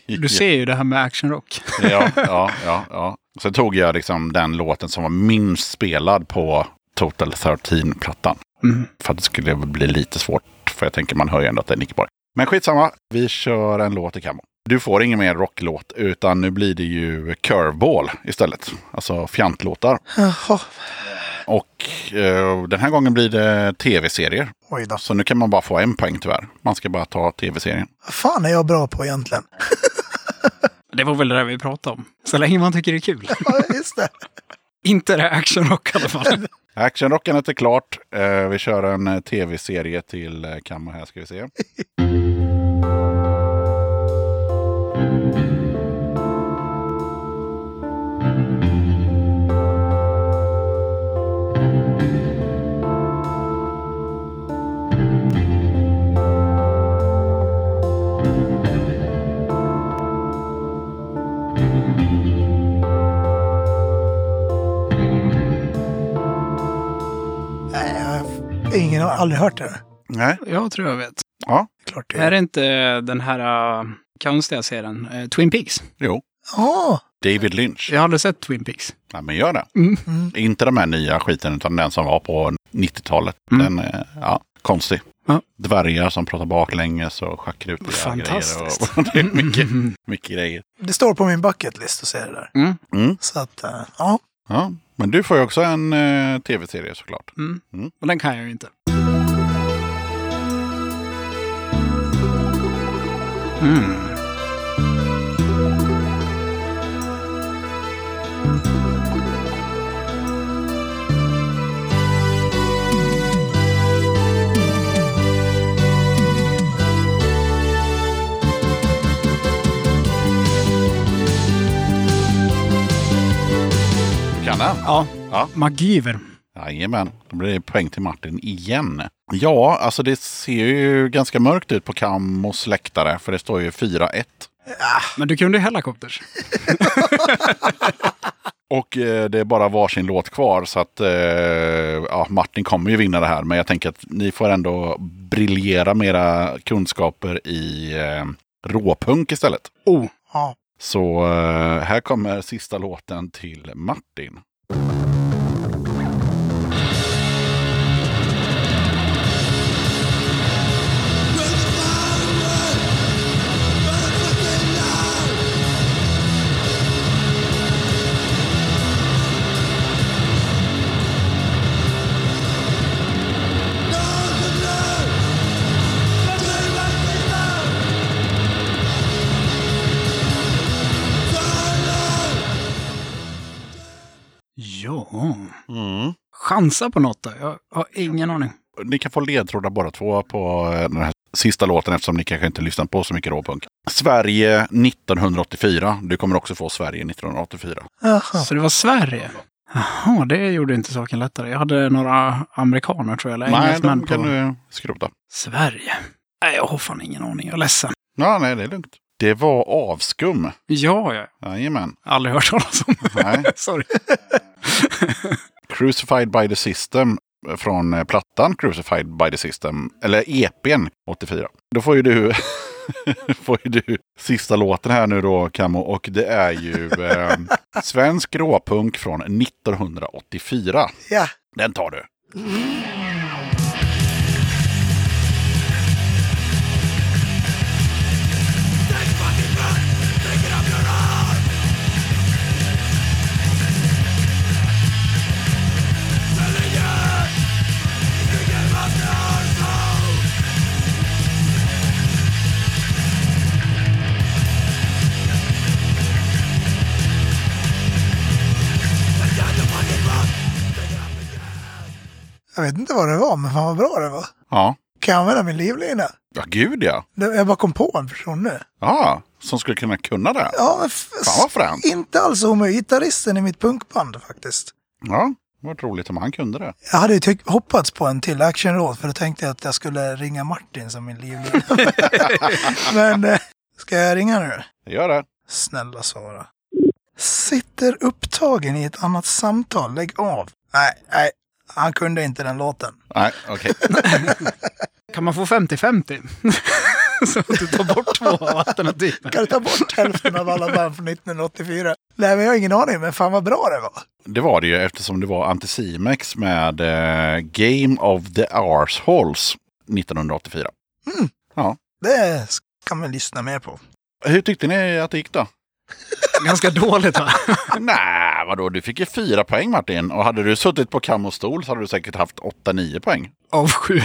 Du ser ju det här med actionrock. ja, ja, ja, ja. Sen tog jag liksom den låten som var minst spelad på Total 13-plattan. Mm. För att det skulle bli lite svårt. För jag tänker man hör ju ändå att det är Nickeborg. Men skitsamma, vi kör en låt i kammo. Du får ingen mer rocklåt, utan nu blir det ju curveball istället. Alltså fjantlåtar. jaha. Och eh, den här gången blir det tv-serier. Oj då. Så nu kan man bara få en poäng tyvärr. Man ska bara ta tv-serien. Vad fan är jag bra på egentligen? Det var väl det där vi pratade om. Så länge man tycker det är kul. Ja, just det. inte det här actionrock i alla fall. Actionrockandet är klart. Eh, vi kör en eh, tv-serie till eh, kammo här ska vi se. Nej, jag har ingen, jag har aldrig hört det. Nej, Jag tror jag vet. Det är klart det Är är. det inte den här äh, konstiga serien, äh, Twin Peaks? jo. Ja, David Lynch. Jag har aldrig sett Twin Peaks. Ja, men gör det. Mm. Mm. Inte de här nya skiten, utan den som var på 90-talet. Mm. Den är ja, konstig. Ja. Dvärgar som pratar baklänges och schackrutiga Fantastiskt. grejer. Och, det är mycket, mycket grejer. det står på min bucket list att se det där. Mm. Mm. Så att, eh, ja. Ja, men du får ju också en eh, tv-serie såklart. Mm. Mm. Och den kan jag ju inte. Mm. Gärna. Ja. Ja. MacGyver. Jajamän, då blir det poäng till Martin igen. Ja, alltså det ser ju ganska mörkt ut på Kammos läktare för det står ju 4-1. Men du kunde ju Hellacopters. Och eh, det är bara varsin låt kvar så att eh, ja, Martin kommer ju vinna det här. Men jag tänker att ni får ändå briljera med era kunskaper i eh, råpunk istället. Oh, Ja. Så eh, här kommer sista låten till Martin. ja. Chansa på något då? Jag har ingen aning. Ni kan få ledtrådar bara två på eh, den här sista låten eftersom ni kanske inte lyssnat på så mycket råpunk. Sverige 1984. Du kommer också få Sverige 1984. Jaha. Så det var Sverige? Jaha, det gjorde inte saken lättare. Jag hade några amerikaner tror jag, eller Nej, engelsmän de på kan du skrota. Sverige. Nej, jag har fan ingen aning. Jag är ledsen. Ja, nej, det är lugnt. Det var avskum. Ja, jag Jajamän. har aldrig hört talas om. Nej. Sorry. Crucified by the System från eh, plattan Crucified by the System, eller EPn 84. Då får ju du, får ju du sista låten här nu då, Camo, och det är ju eh, svensk råpunk från 1984. Ja. Den tar du. Jag vet inte vad det var, men fan vad bra det var. Ja. Kan jag använda min livlina? Ja, gud ja. Det- Jag bara kom på en person nu. Ja, som skulle kunna kunna det. Ja, men f- Fan vad fränt. inte alls omöjligt. Gitarristen i mitt punkband faktiskt. Ja, det var roligt om han kunde det. Jag hade ju tyck- hoppats på en till actionråd för då tänkte jag att jag skulle ringa Martin som min livlina. men eh, ska jag ringa nu? Det gör det. Snälla svara. Sitter upptagen i ett annat samtal. Lägg av. Nej, nej. Han kunde inte den låten. Nej, okej. Kan man få 50-50? Så att du tar bort två av alternativen. Kan du ta bort hälften av alla band från 1984? Nej, men jag har ingen aning, men fan vad bra det var. Det var det ju eftersom det var Anticimex med eh, Game of the Arseholes 1984. Det ska man lyssna mer på. Hur tyckte ni att det gick då? Ganska dåligt va? Nej, vadå? Du fick ju fyra poäng Martin. Och hade du suttit på kam och stol så hade du säkert haft 8-9 poäng. Av sju.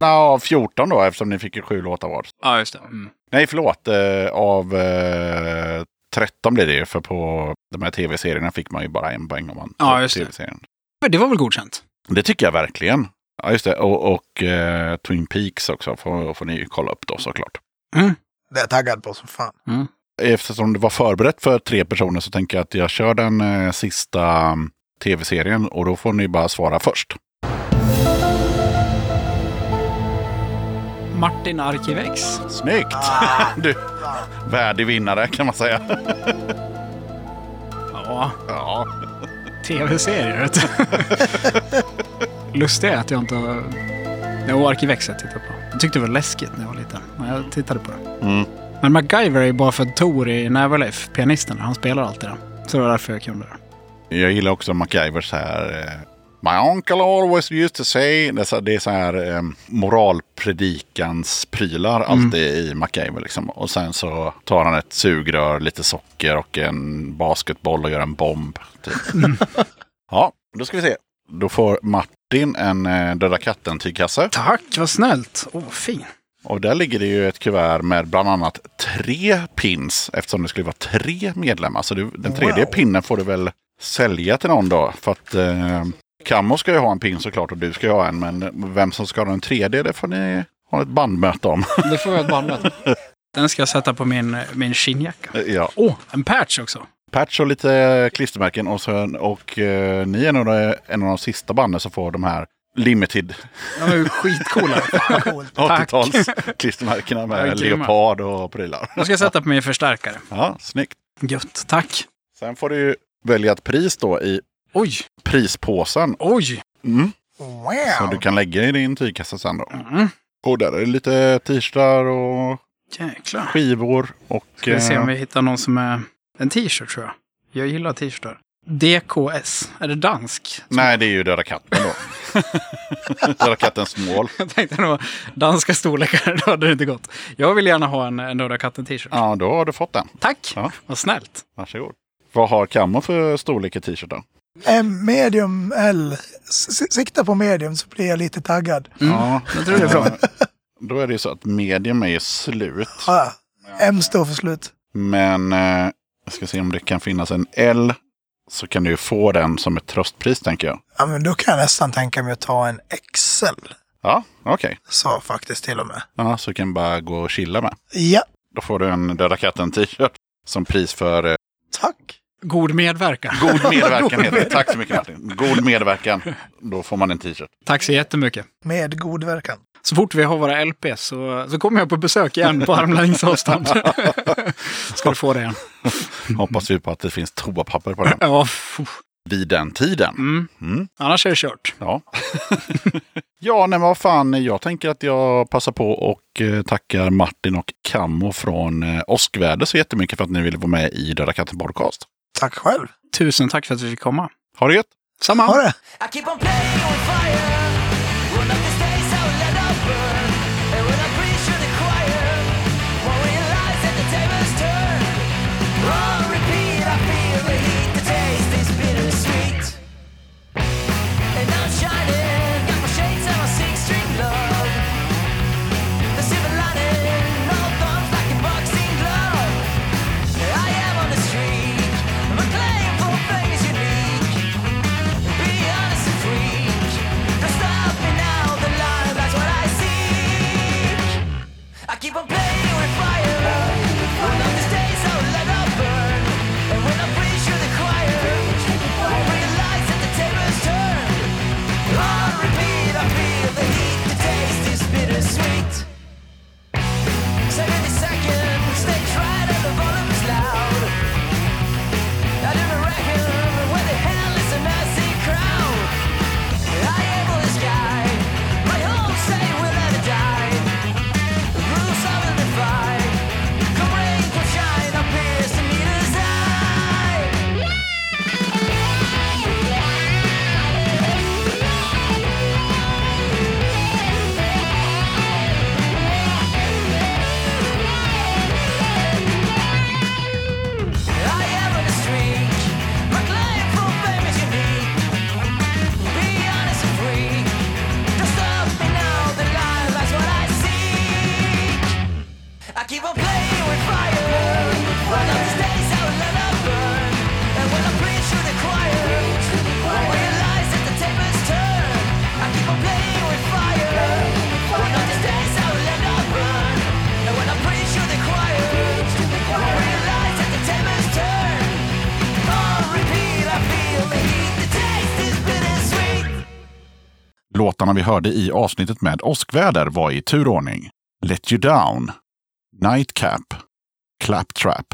Nej, av 14 då eftersom ni fick ju sju låtar var. Ja, just det. Mm. Nej, förlåt. Eh, av eh, 13 blev det ju. För på de här tv-serierna fick man ju bara en poäng om man Ja, tog just det. TV-serien. Men det var väl godkänt? Det tycker jag verkligen. Ja, just det. Och, och eh, Twin Peaks också får, får ni ju kolla upp då såklart. Mm. Det är jag taggad på som fan. eftersom det var förberett för tre personer så tänker jag att jag kör den eh, sista mm, tv-serien och då får ni bara svara först. Martin Arkivex. Snyggt! Ah. Du, värdig vinnare kan man säga. Ja, Ja, tv-serier vet du. Lustigt är att jag inte har... Jo, Arkivex har jag tittat på. Jag tyckte det var läskigt när jag var liten. Men jag tittade på det. Mm. Men MacGyver är ju bara för att Tor i Neverlife, pianisten, han spelar alltid den. Så det var därför jag kunde det. jag gillar också MacGyvers här. eh, My uncle always used to say. Det är så, det är så här eh, moralpredikans prylar alltid i MacGyver. Liksom. Och sen så tar han ett sugrör, lite socker och en basketboll och gör en bomb. Typ. ja, då ska vi se. Då får Martin en eh, Döda katten-tygkasse. Tack, vad snällt. Åh, oh, fin. Och där ligger det ju ett kuvert med bland annat tre pins. Eftersom det skulle vara tre medlemmar. Så du, den tredje Wow. pinnen får du väl sälja till någon då. För att eh, Kammo ska ju ha en pin såklart och du ska ju ha en. Men vem som ska ha den tredje det får ni ha ett bandmöte om. Det får jag ett bandmöte. Den ska jag sätta på min, min skinnjacka. ja. Åh, oh, en patch också. Patch och lite klistermärken och, sen, och eh, ni är nog det- en av de sista banden som får de här limited De är ju skitcoola. Vad coolt. 80-tals klistermärkena Ja, med grymma. leopard och prylar. De ska jag sätta på min förstärkare. Ja, snyggt. Gött, tack. Sen får du ju välja ett pris då i Oj, prispåsen. oj. Mm. Som du Wow! kan lägga i din tygkassa sen då. Mm. Och där är det lite t-shirtar och Jäklar. skivor. Och, Ska vi se eh, om vi hittar någon som är en t-shirt tror jag. Jag gillar t-shirtar. DKS, är det dansk? Nej, det är ju Döda katten då. Döda kattens mål. Jag tänkte nog danska storlekar, då hade det inte gått. Jag vill gärna ha en, en Döda katten-t-shirt. Ja, då har du fått den. Tack, Ja. vad snällt. Varsågod. Vad har Kammo för storlek i t-shirten? Eh, Medium L. S- s- Sikta på medium så blir jag lite taggad. Ja, Mm. Jag tror det är bra. Då är det ju så att medium är ju slut. Ah, M står för slut. Men eh, jag ska se om det kan finnas en L. Så kan du ju få den som ett tröstpris tänker jag. Ja, men då kan jag nästan tänka mig att ta en XL. Ja, okej. Sa faktiskt till och med. Ja, så kan du bara gå och chilla med. Ja, Då får du en Döda katten t-shirt som pris för eh, tack. God medverkan. god medverkan. heter det. Tack så mycket Martin. God medverkan. Då får man en t-shirt. Tack så jättemycket. Med god verkan. Så fort vi har våra LPs så, så kommer jag på besök igen på armlängds avstånd. Ska du få det igen. Hoppas vi på att det finns toapapper på den Ja, fuh. vid den tiden. mm. Mm. Annars är det kört. Ja. ja, nej men vad fan. Jag tänker att jag passar på och eh, tackar Martin och Kammo från eh, Åskväder så jättemycket för att ni ville vara med i Döda katten podcast. Tack själv. Tusen tack för att vi fick komma. Ha det gött! Samma. Ha det! I keep on playing with fire. Will not the stakes I will let out burn. And when I preach to the choir, won't realize that the tables turn. On repeat, I feel the heat. The taste is bittersweet. And I'm shining. Got my shades and my six-string love. The silver lining, all thumbs like a boxing glove. I am on the street. My claim for fame is unique. Be honest and freak. Don't stop me now. The lie, that's what I seek. I keep on playing with fire. One of these days I will let up burn. And when I preach to the choir, I realize that the tables turn. On repeat, I feel the heat. The taste is bittersweet. Seventy seconds, they tried and the volume is loud. I never reckon where the hell is the Nazi crowd. I am on the sky, my home state will never die. Rules I will defy. Come rain, come shine, I'm pierced in neither's eye. I am on a streak. My claim for fame is unique. Be honest and free. Don't stop me now. The lie, that's what I seek. I keep on playing with fire. One of these days I will let it burn. And when I preach to the choir, I realize that the tables turn. I keep on playing with fire. One of these days I will let it burn. And when I preach to the choir, I realize that the tables turn. On repeat, I feel the heat. The taste is bittersweet. Låtarna vi hörde i avsnittet med åskväder var i turordning Let You Down, Nightcap, Claptrap.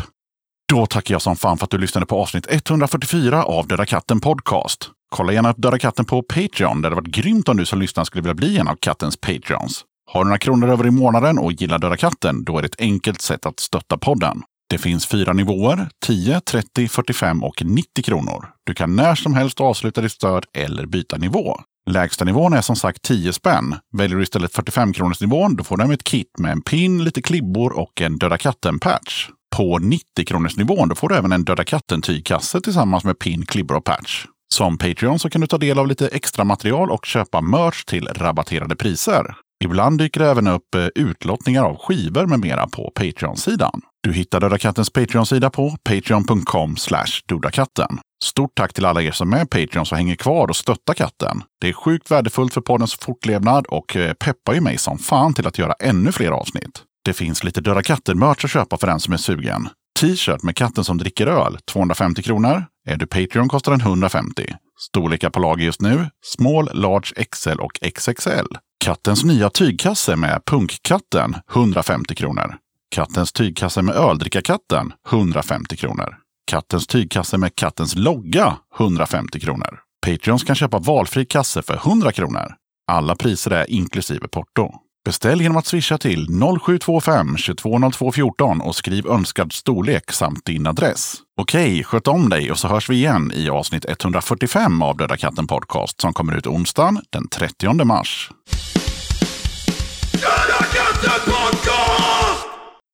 Då tackar jag som fan för att du lyssnade på avsnitt 144 av Döda katten Podcast. Kolla gärna upp Döda katten på Patreon. Det hade varit grymt om du som lyssnar skulle vilja bli en av kattens Patreons. Har du några kronor över i månaden och gillar Döda katten, då är det ett enkelt sätt att stötta podden. Det finns fyra nivåer, 10, 30, 45 och 90 kronor. Du kan när som helst avsluta ditt stöd eller byta nivå. Lägsta nivån är som sagt 10 spänn. Väljer du istället 45 kronors nivån, då får du hem ett kit med en pin, lite klibbor och en Döda katten-patch. På 90 kronors nivån, då får du även en Döda katten-tygkasse tillsammans med pin, klibbor och patch. Som Patreon så kan du ta del av lite extra material och köpa merch till rabatterade priser. Ibland dyker det även upp eh, utlottningar av skivor med mera på Patreon-sidan. Du hittar Döda Kattens Patreon-sida på patreon.com dodakatten. Stort tack till alla er som är Patreons och hänger kvar och stöttar katten. Det är sjukt värdefullt för poddens fortlevnad och eh, peppar ju mig som fan till att göra ännu fler avsnitt. Det finns lite Döda katten-merch att köpa för den som är sugen. t-shirt med katten som dricker öl 250 kronor. Är du Patreon kostar den 150. Storlekar på lager just nu, small, large, XL och XXL. Kattens nya tygkasse med punkkatten 150 kronor. Kattens tygkasse med öldrickarkatten 150 kronor. Kattens tygkasse med kattens logga 150 kronor. Patreons kan köpa valfri kasse för 100 kronor. Alla priser är inklusive porto. Beställ genom att swisha till 0725 220214 och skriv önskad storlek samt din adress. Okej, sköt om dig och så hörs vi igen i avsnitt 145 av Döda katten podcast som kommer ut onsdagen den 30 mars.